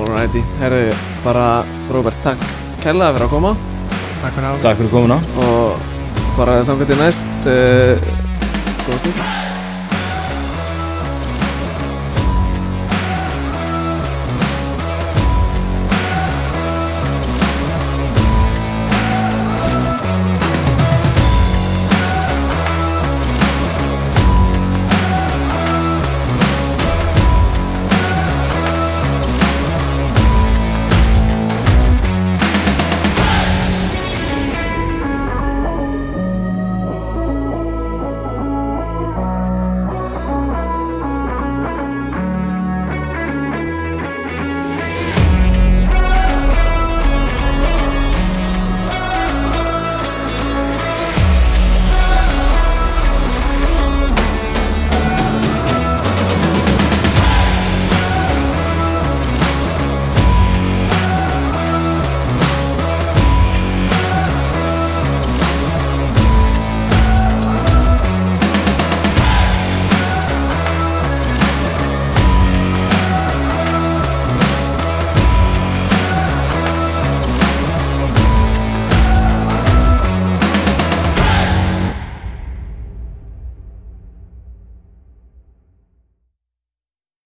Alrighty, herru, bara Robert, takk kærlega fyrir að koma takk fyrir að hafa mig. Takk fyrir komuna og bara þangað til næst uh, eh, Góða stund